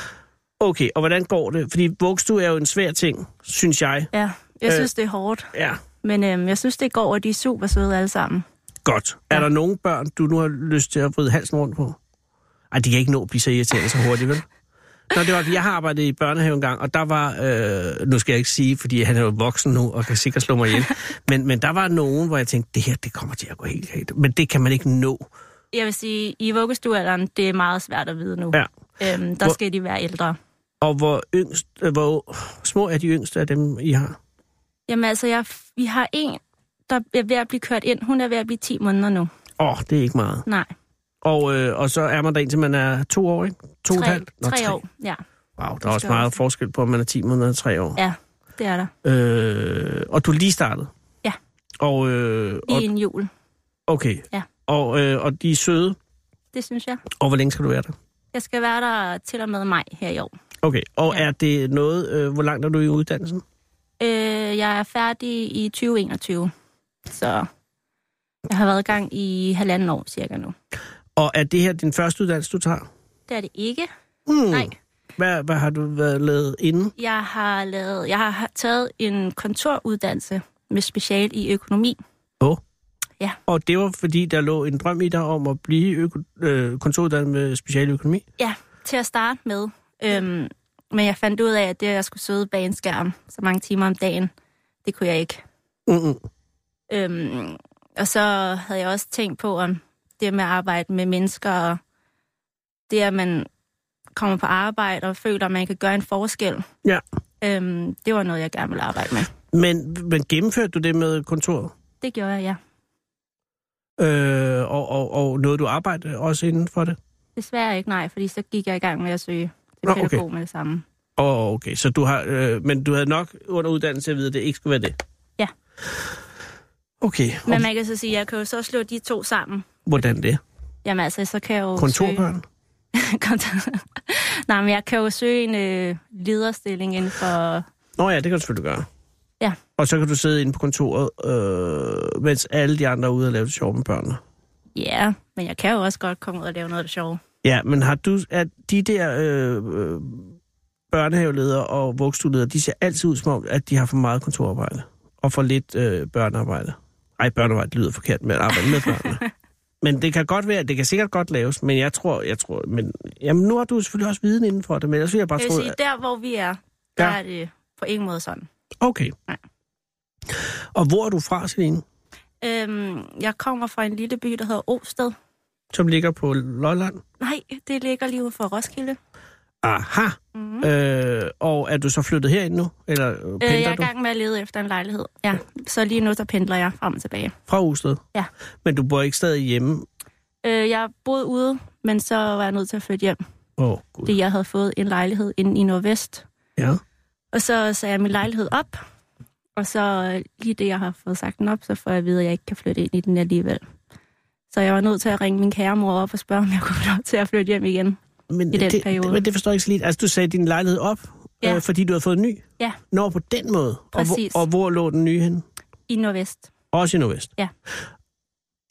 Okay, og hvordan går det? Fordi vugstue er jo en svær ting, synes jeg. ja. Jeg Øh. synes, det er hårdt. Ja. Men øhm, jeg synes, det går, og de er super søde alle sammen. Godt. Er der nogen børn, du nu har lyst til at bryde halsen rundt på? Ej, de kan ikke nå at blive så irriterende så hurtigt, vel? Nå, det var, jeg har arbejdet i børnehave en gang, og der var, øh, nu skal jeg ikke sige, fordi han er jo voksen nu, og kan sikkert slå mig ihjel, men, men der var nogen, hvor jeg tænkte, det her, det kommer til at gå helt galt. Men det kan man ikke nå. Jeg vil sige, i vuggestuealderen, det er meget svært at vide nu. Ja. Øhm, der Hvor- skal de være ældre. Og hvor, yngst, øh, hvor små er de yngste af dem, I har? Jamen altså, jeg, vi har en, der er ved at blive kørt ind. Hun er ved at blive 10 måneder nu. Åh, oh, det er ikke meget. Nej, Og, øh, og så er man der, indtil man er to år, ikke? To og et tre, halvt? Nå, tre år. Ja, Wow, der er også skal meget også- forskel på, om man er 10 måneder og 3 år. ja, det er der. Øh, og du er lige startet? Ja. Og, øh, og Lige en jul, okay. Ja. Og, øh, og de er søde, det synes jeg. og hvor længe skal du være der? Jeg skal være der til og med maj her i år. Okay, og Ja. er det noget, øh, hvor langt er du i uddannelsen? Øh, jeg er færdig i 2021, så jeg har været i gang i halvanden år cirka nu. Og er det her din første uddannelse, du tager? Det er det ikke. Mm. Nej. Hvad, hvad har du været lavet inden? Jeg har, lavet, jeg har taget en kontoruddannelse med special i økonomi. Åh. Ja. Og det var, fordi der lå en drøm i dig om at blive øko, øh, kontoruddannet med specialøkonomi? Ja, til at starte med. Øhm, men jeg fandt ud af, at det, at jeg skulle sidde bag en skærm så mange timer om dagen, det kunne jeg ikke. Mm-mm. Øhm, og så havde jeg også tænkt på, om det med at arbejde med mennesker, og det at man kommer på arbejde og føler, at man kan gøre en forskel, Ja. øhm, det var noget, jeg gerne ville arbejde med. Men, men gennemførte du det med kontoret? Det gjorde jeg, ja. Øh, og, og, og noget du arbejdede også inden for det? Desværre ikke nej, fordi så gik jeg i gang med at søge til Nå, okay. pædagog med det samme. Åh, oh, okay. Så du har, øh, men du havde nok under uddannelse at vide, at det ikke skulle være det? Ja. Okay. Og Men man kan så sige, at jeg kan jo så slå de to sammen. hvordan det? Jamen altså, så kan jeg jo søge... Kontorbørn? Kontor- Nej, men jeg kan jo søge en øh, lederstilling inden for... Nå ja, det kan du selvfølgelig gøre. Ja. Og så kan du sidde inde på kontoret, øh, mens alle de andre er ude og lave det sjove med børnene. Ja, yeah, men jeg kan jo også godt komme ud og lave noget af det sjove. Ja, men har du, at de der øh, øh, børnehaveledere og vugstueledere, de ser altid ud som om, at de har for meget kontorarbejde og for lidt øh, børnearbejde. Ej, børnearbejde lyder forkert med at arbejde med børnene. Men det kan godt være, det kan sikkert godt laves, men jeg tror, jeg tror, men jamen, nu har du selvfølgelig også viden inden for det, men ellers vil jeg bare Jeg vil tro, sige, at, der hvor vi er, der Ja. ja. er det på ingen måde sådan. okay. Nej. Og hvor er du fra, Celine? Øhm, jeg kommer fra en lille by, der hedder Osted. Som ligger på Lolland? Nej, det ligger lige ude for Roskilde. Øh, Aha. Mm. Øh, og er du så flyttet herind nu? Eller øh, pendler Øh, jeg er i du gang med at lede efter en lejlighed. Ja, så lige nu der pendler jeg frem og tilbage. fra Osted? Ja. Men du bor ikke stadig hjemme? Øh, jeg boede ude, men så var jeg nødt til at flytte hjem, Åh, oh, gud. fordi jeg havde fået en lejlighed inde i Nordvest. Ja. Og så sagde jeg min lejlighed op, og så øh, lige det, jeg har fået sagt den op, så får jeg at vide, at jeg ikke kan flytte ind i den alligevel. Så jeg var nødt til at ringe min kære mor op og spørge, om jeg kunne få lov til at flytte hjem igen. Men I den det, periode. Men det forstår jeg ikke så lidt. Altså, du sagde din lejlighed op, ja. Ja. øh, fordi du havde fået en ny? Ja. Nå, på den måde. Og hvor, Præcis. og hvor lå den nye hen? I Nordvest. Også i Nordvest? Ja.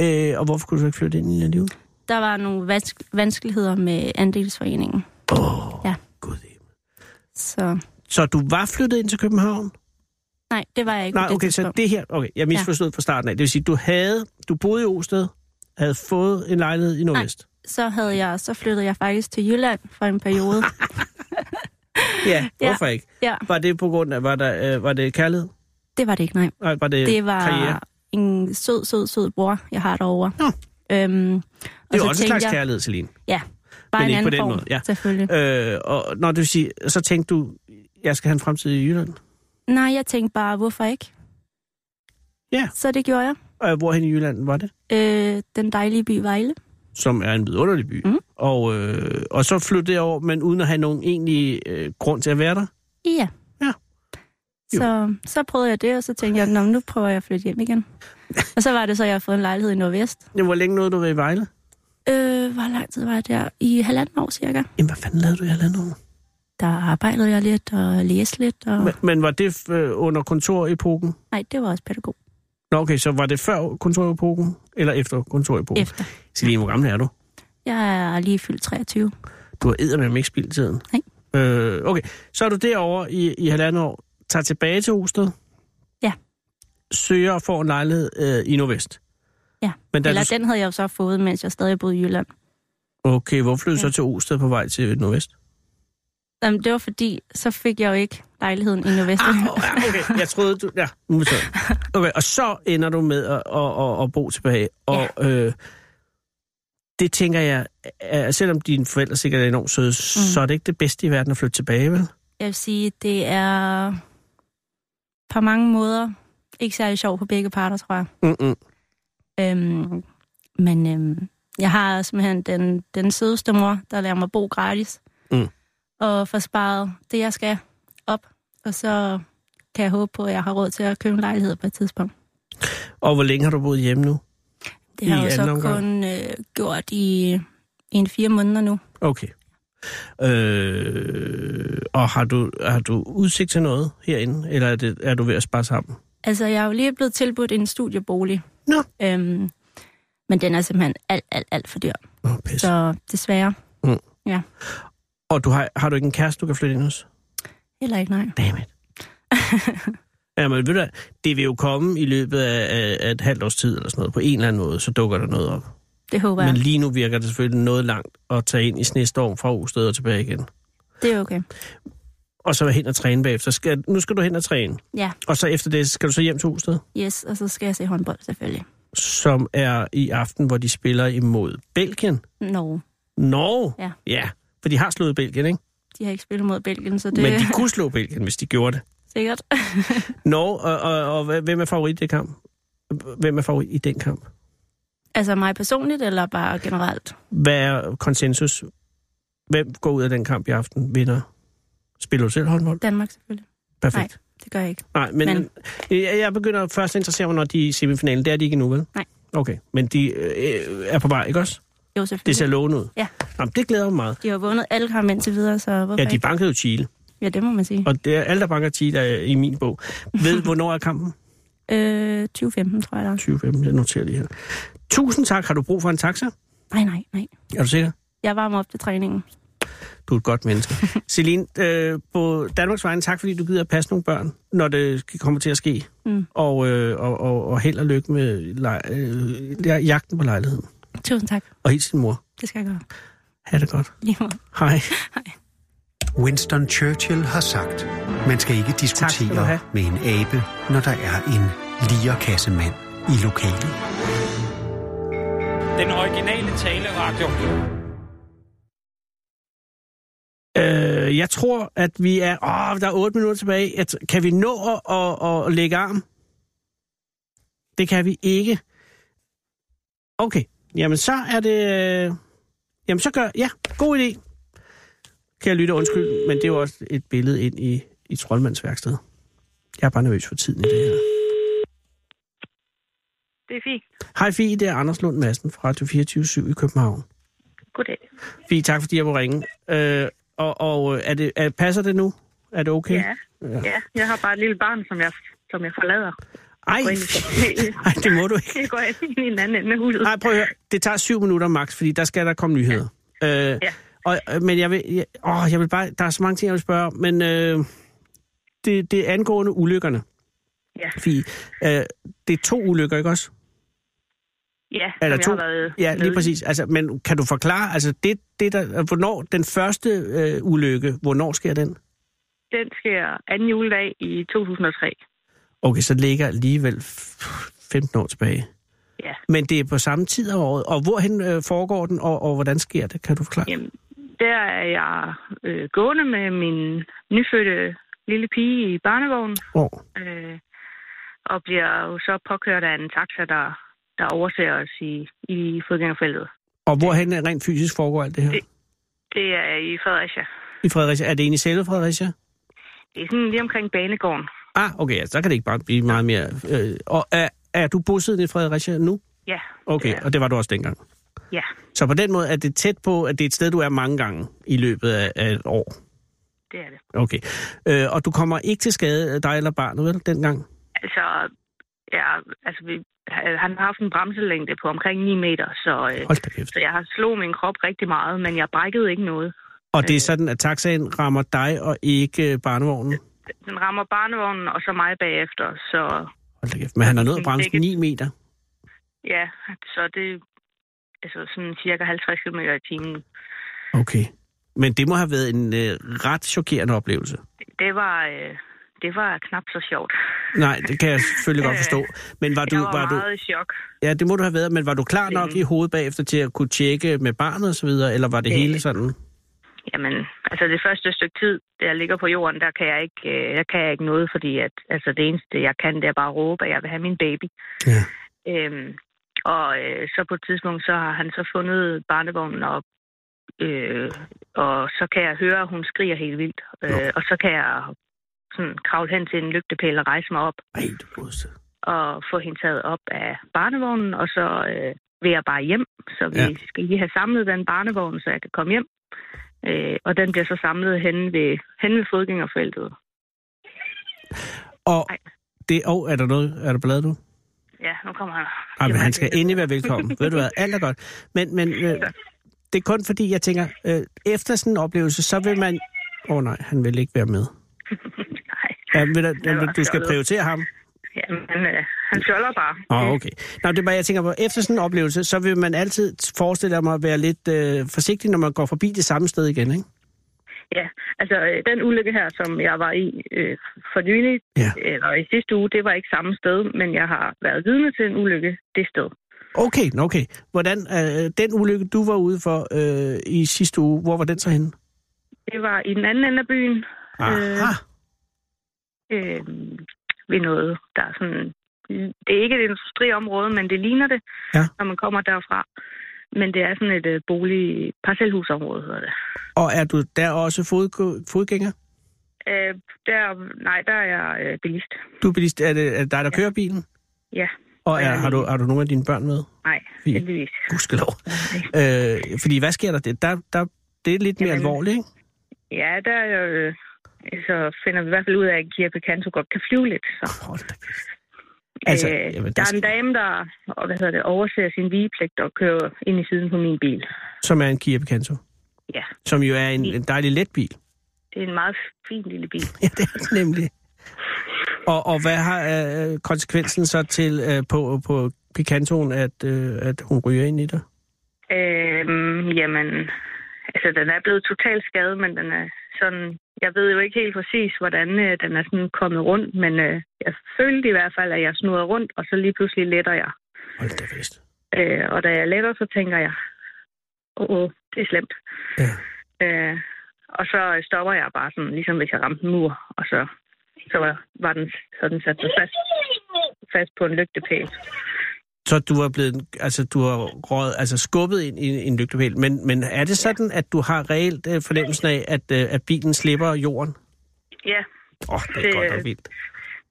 Øh, og hvorfor kunne du ikke flytte ind i den liv? Der var nogle vanske- vanskeligheder med andelsforeningen. Åh, oh, Ja. gud. Så Så du var flyttet ind til København? nej, det var jeg ikke Nej, på det okay, så tidspunkt. det her... Okay, jeg misforstod ja. fra starten af. Det vil sige, du havde... Du boede i Osted, havde fået en lejlighed i Nordvest. Så, havde jeg, så flyttede jeg faktisk til Jylland for en periode. Ja, Ja. hvorfor ikke? ja, Var det på grund af... Var, der, øh, var det kærlighed? det var det ikke, nej. Nej, var det, Det var karriere? en sød, sød, sød bror, jeg har derovre. Nå. Øhm, Det og er så jo også en tænkte slags jeg- kærlighed, Celine. Ja, bare Men en ikke på anden den form, måde, ja. selvfølgelig. Øh, og når du siger, så tænkte du, jeg skal have en fremtid i Jylland. Nej, jeg tænkte bare, hvorfor ikke? Ja. Så det gjorde jeg. Øh, hvorhen i Jylland var det? Øh, den dejlige by Vejle. Som er en vidunderlig by. Mhm. Og, øh, og så flyttede jeg over, men uden at have nogen egentlig øh, grund til at være der. Ja. Ja. Jo. Så, så prøvede jeg det, og så tænkte jeg, "Nå, men nu prøver jeg at flytte hjem igen. og så var det så, at jeg har fået en lejlighed i Nordvest. Jamen, hvor længe nåede du at være i Vejle? Øh, hvor lang tid var jeg der? I halvanden år cirka. Jamen, hvad fanden lavede du i halvandet år? Der arbejdede jeg lidt og læste lidt. Og... Men, men var det øh, under kontorepoken? Nej, det var også pædagog. Nå, okay, så var det før kontorepoken, eller efter kontorepoken? Efter. Celine, hvor gammel er du? Jeg er lige fyldt 23. Du har eddermame ikke spildt tiden. Nej. Øh, okay, så er du derovre i, i halvandet år, tager tilbage til Osted. Ja. Søger og får en lejlighed øh, i Nordvest. Ja. Men da Eller du... den havde jeg jo så fået, mens jeg stadig boede i Jylland. Okay, hvor flyttede du så til Osted på vej til Nordvest? Jamen, det var fordi, så fik jeg jo ikke lejligheden i Nordvest. Ah, oh, ja, okay, jeg troede, du... Ja, nu må jeg Okay, og så ender du med at, at, at, at bo tilbage. Og øh, det tænker jeg, er, selvom dine forældre sikkert er enormt søde, mm. så er det ikke det bedste i verden at flytte tilbage, vel? Jeg vil sige, det er på mange måder ikke særlig sjovt på begge parter, tror jeg. Mm-mm. Øhm, men øhm, jeg har simpelthen den, den sødeste mor, der lader mig bo gratis. Mm. Og får sparet det, jeg skal op. Og så kan jeg håbe på, at jeg har råd til at købe en lejlighed på et tidspunkt. Og hvor længe har du boet hjemme nu? Det har I jeg jo så anden omgang? kun øh, gjort i, i en fire måneder nu. Okay. Øh, og har du, har du udsigt til noget herinde, eller er, det, er du ved at spare sammen? Altså, jeg er jo lige blevet tilbudt en studiebolig. Nå. Øhm, men den er simpelthen alt, alt, alt for dyr. Åh, pis. Så desværre. Og du har, har du ikke en kæreste, du kan flytte ind hos? Heller ikke, nej. Dammit. Jamen, ved du hvad, det vil jo komme i løbet af, af, af et halvt års tid eller sådan noget. På en eller anden måde, så dukker der noget op. Det håber Ja. jeg. Men lige nu virker det selvfølgelig noget langt at tage ind i snestorm fra Osted og tilbage igen. Det er okay. Og så hen og træne bagefter. Skal, nu skal du hen og træne. Ja, Og så efter det skal du så hjem til Osted, yes, og så skal jeg se håndbold selvfølgelig. som er i aften, hvor de spiller imod Belgien. Norge. Norge? Ja. ja. For de har slået Belgien, ikke? De har ikke spillet mod Belgien, så Det... det Men de er kunne slå Belgien, hvis de gjorde det. sikkert. Norge, og, og, og hvem er favorit i det kamp? Hvem er favorit i den kamp? altså mig personligt, eller bare generelt? Hvad er konsensus? Hvem går ud af den kamp i aften? Vinder? Spiller du selv håndbold? Danmark selvfølgelig. Perfekt. Det gør jeg ikke. Nej, men, men... Men- Jeg, jeg begynder først at interessere mig, når de er i semifinalen. Det er de ikke endnu, vel? Nej. Okay, men de øh, er på vej, ikke også? Jo, Det selvfølgelig. ser lovende ud. Ja. Jamen, det glæder mig meget. De har vundet alle kampe indtil videre, så hvorfor Ja, de ikke? bankede jo Chile, Ja, det må man sige. og det er alle, der banker Chile er i min bog. Ved, hvornår er kampen? Øh, 2015, tror jeg da. 2015, jeg noterer lige her. Tusind tak. Har du brug for en taxa? Nej, nej, nej. Er du sikker? Jeg varmer op til træningen. Du er et godt menneske. Celine, øh, på Danmarks vegne, tak fordi du gider at passe nogle børn, når det skal- kommer til at ske. Mm. Og, øh, og, og, og held og lykke med lej- øh, ja, jagten på lejligheden. Tusind tak. Og hils din mor. Det skal jeg gøre. Ha' det godt. Lige måde. Hej. Winston Churchill har sagt, man skal ikke skal du diskutere have. med en abe, når der er en lierkassemand i lokalet. Den originale taleradio. Øh, jeg tror, at vi er... Åh, der er otte minutter tilbage. Jeg t- kan vi nå at, at, at lægge arm? Det kan vi ikke. Okay. Jamen, så er det... øh, Jamen, så gør... Ja, god idé. Kan jeg lytte undskyld, men det er jo også et billede ind i, i troldmandsværkstedet. Jeg er bare nervøs for tiden i det her. Det er fint. Hej Fie, det er Anders Lund Madsen fra Radio 24 i København. Goddag. Fie, tak fordi jeg må ringe. Øh, og og øh, er det, er, passer det nu? Er det okay? Ja. ja. ja. Jeg har bare et lille barn, som jeg, som jeg forlader. Ej, Går ind i familien. Ej, det må du ikke. Jeg går ind i en anden ende af huset. Nej, prøv at høre. Det tager syv minutter max, fordi der skal der komme nyheder. Ja. Øh, Ja. og, øh, men jeg vil, jeg, åh, jeg vil bare, der er så mange ting, jeg vil spørge om, men øh, det, det er angående ulykkerne. Ja. Fie, øh, det er to ulykker, ikke også? Ja, Er der som to? jeg har været Ja, med lige i. præcis. Altså, men kan du forklare, altså det, det der, hvornår den første øh, ulykke, hvornår sker den? Den sker anden juledag i 2003. Okay, så ligger alligevel f- 15 år tilbage. Ja. Men det er på samme tid af året, og hvorhen øh, foregår den, og, og hvordan sker det? Kan du forklare? Jamen, der er jeg øh, gående med min nyfødte lille pige i barnevognen, Hvor? øh, og bliver jo så påkørt af en taxa, der, der overser os i, i fodgængerfeltet. Og hvorhen rent fysisk foregår alt det her? Det- Det er i Fredericia. I Fredericia? Er det egentlig selve Fredericia? Det er sådan lige omkring banegården. Ah, okay, altså, der kan det ikke bare blive meget mere... Øh, og er, er du bosiddende i Fredericia nu? Ja, Okay, Det er- og det var du også dengang. ja, Så på den måde er det tæt på, at det er et sted, du er mange gange i løbet af, af et år. det er det. Okay. Øh, og du kommer ikke til skade, dig eller barnet, vel, dengang? Altså, ja, altså vi, han har haft en bremselængde på omkring 9 meter, så, øh, Hold da kæft. så jeg har slået min krop rigtig meget, men jeg brækkede ikke noget. Og det er sådan, at taxaen rammer dig og ikke øh, barnevognen? Den rammer barnevognen og så mig bagefter, så Hold da kæft. Men han har nået at bremse Begge- 9 meter. ja, så det altså sådan cirka 50 km i timen. Okay. Men det må have været en øh, ret chokerende oplevelse. Det var, øh, det var knap så sjovt. Nej, det kan jeg selvfølgelig godt Øh, forstå. Men var du, jeg var, var du, meget i chok. Ja, det må du have været, men var du klar nok i hovedet bagefter til at kunne tjekke med barnet og så videre, eller var det Øh. hele sådan? Jamen, altså det første stykke tid, der jeg ligger på jorden, der kan jeg ikke, øh, der kan jeg ikke noget, fordi at, altså det eneste, jeg kan, det er bare at råbe, at jeg vil have min baby. Ja. Øhm, og øh, så på et tidspunkt, så har han så fundet barnevognen op, øh, og så kan jeg høre, at hun skriger helt vildt. Øh, og så kan jeg sådan kravle hen til en lygtepæl og rejse mig op Ej, du godeste. og få hende taget op af barnevognen, og så øh, vil jeg bare hjem. Så vi Ja. ja. skal lige have samlet den barnevogn, så jeg kan komme hjem. Øh, og den bliver så samlet henne ved, henne ved fodgængerfeltet. Og Ej. det, og er der noget, er der ballade du? Ja, nu kommer han. Ej, men Jamen, han skal det- endelig være velkommen. Ved du hvad, alt er godt. Men, men øh, det er kun fordi, jeg tænker, øh, efter sådan en oplevelse, så vil man... Åh oh, nej, han vil ikke være med. nej. Ja, vil, Han der, var du skal fjollet. prioritere ham. Jamen, han, øh, han fjoller bare. Åh, oh, okay. Nå, det er bare, jeg tænker på, efter sådan en oplevelse, så vil man altid forestille mig at være lidt øh, forsigtig, når man går forbi det samme sted igen, ikke? Ja, altså øh, den ulykke her, som jeg var i øh, for nylig, Ja. eller i sidste uge, det var ikke samme sted, men jeg har været vidne til en ulykke det sted. Okay, nå, okay. Hvordan, øh, den ulykke, du var ude for øh, i sidste uge, hvor var den så henne? Det var i den anden ende af byen, Aha. øh, ved noget, der er sådan... Det er ikke et industriområde, men det ligner det, Ja. når man kommer derfra. Men det er sådan et øh, bolig parcelhusområde, hedder det. Og er du der også fodg- fodgænger? Øh, der, nej, der er jeg øh, bilist. Du er, bilist, er, det, er det dig, der kører bilen? Ja, Og er, har, du, har du nogle af dine børn med? nej, Fint. heldigvis. Gudskelov. Øh, fordi hvad sker der? Det, der, der, det er lidt mere Jamen. alvorligt, ikke? Ja, der øh, så finder vi i hvert fald ud af, at Kia Picanto godt kan flyve lidt. Så. Hold da kæft. Altså, jamen, øh, der der, der er skal- en dame, der og, hvad hedder det, overser sin vigepligt og kører ind i siden på min bil. Som er en Kia Picanto. Ja, Som jo er en, en dejlig let bil. det er en meget fin lille bil. Ja, det er den nemlig. Og, og hvad har øh, konsekvensen så til øh, på, på Picantoen, at, øh, at hun ryger ind i dig? Øhm, jamen, altså den er blevet totalt skadet, men den er sådan... Jeg ved jo ikke helt præcis, hvordan øh, den er sådan kommet rundt, men øh, jeg følte i hvert fald, at jeg snurrede rundt, og så lige pludselig letter jeg. Hold da fest. Øh, og da jeg letter, så tænker jeg, åh, oh, oh, det er slemt. Ja. Øh, og så stopper jeg bare sådan, ligesom hvis jeg ramte en mur, og så, så var, var den sådan sat sig fast, fast på en lygtepæl. Så du er blevet, altså du har røget, altså skubbet ind i en lygtepæl. Men, men er det sådan, at du har reelt øh, fornemmelsen af, at, øh, at bilen slipper jorden? Ja, Åh, oh, det er Det- godt nok vildt.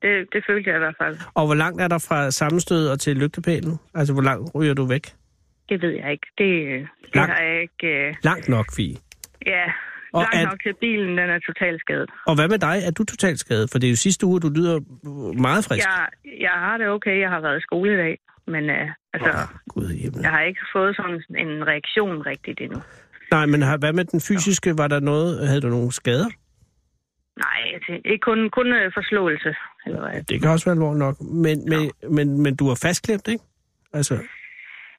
det, det følte jeg i hvert fald. Og hvor langt er der fra sammenstødet og til lygtepælen? Altså, hvor langt ryger du væk? Det ved jeg ikke. Det, øh, det Langt. har jeg ikke... Øh, Langt nok, Fie. ja, Og langt at- nok til bilen, den er totalt skadet. Og hvad med dig? Er du totalt skadet? For det er jo sidste uge, du lyder meget frisk. Jeg, jeg har det okay, jeg har været i skole i dag, men øh, altså, Gud i himlen. jeg har ikke fået sådan en reaktion rigtigt endnu. Nej, men har- hvad med den fysiske? Var der noget? Havde du nogle skader? Nej, jeg tænker- ikke kun, kun øh, forslåelse. Eller hvad. Det kan også være alvorligt nok. Men, men, men, men du er fastklemt, ikke? Altså,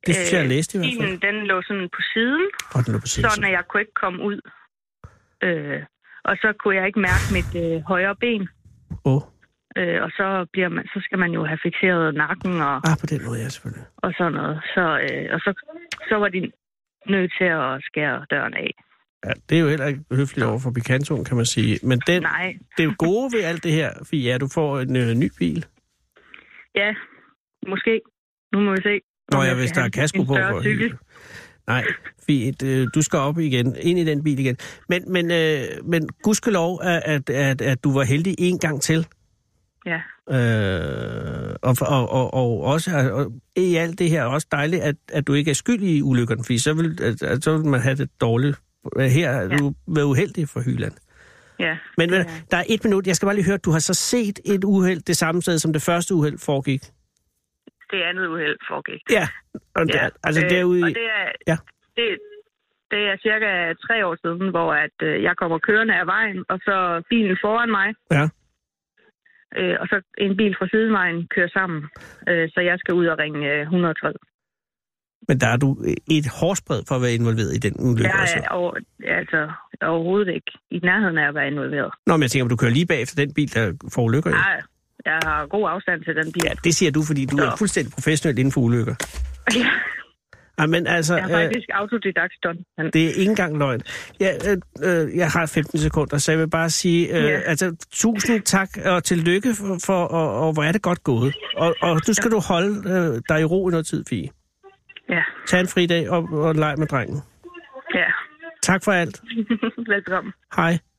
det synes jeg, jeg læste i hvert fald. Øh, Bilen, den lå sådan på siden, Og den er på siden. sådan at jeg kunne ikke komme ud. Øh, og så kunne jeg ikke mærke mit øh, højre ben. Åh, Øh, og så, bliver man, så skal man jo have fixeret nakken og, ah, på den måde, ja, selvfølgelig. og sådan noget. Så, øh, og så, så var de nødt til at skære døren af. Ja, det er jo heller ikke høfligt over for Picantoen, kan man sige. Men den, Nej, det gode ved alt det her, Fie, er, at du får en øh, ny bil. ja, måske. Nu må vi se. Nå om ja, jeg hvis skal der er have kasko en på. større For cykel. Nej, fint. øh, Du skal op igen. Ind i den bil igen. Men, men, øh, men gudskelov, at, at, at, at du var heldig en gang til. Ja, Øh, og, og, og, og også og, i alt det her også dejligt, at, at du ikke er skyld i ulykkerne, fordi så vil, at, at, så vil man have det dårligt. Øh, Her er du været uheldig for Hyland. ja. Men, men der er et minut. Jeg skal bare lige høre, du har så set et uheld det samme sted, som det første uheld foregik. Det andet uheld foregik. Ja, og ja. Der, altså øh, derude... Og det er, Ja. ja. det, det er cirka tre år siden, hvor at, øh, jeg kommer kørende af vejen, og så bilen foran mig, Ja. øh, og så en bil fra sidevejen kører sammen. Øh, så jeg skal ud og ringe øh, 112. Men der er du et hårspred for at være involveret i den ulykke Jeg også. er over, altså, overhovedet ikke i nærheden af at være involveret. Nå, men jeg tænker, om du kører lige bagefter den bil, der forulykker. Ja. Nej, jeg har god afstand til den bil. ja, det siger du, fordi du er Nå. fuldstændig professionel inden for ulykker. Ja. Ja, men altså, Jeg har øh, faktisk autodidakt stunt. Men det er ikke engang løgn. Jeg, øh, øh, jeg har 15 sekunder, så jeg vil bare sige, øh, Ja. altså, tusind tak og tillykke for, for og, og hvor er det godt gået. Og, og nu skal du holde øh, dig i ro i noget tid, Fie. ja, Tag en fridag og, og leg med drengen. ja. Tak for alt. Velkommen. Hej.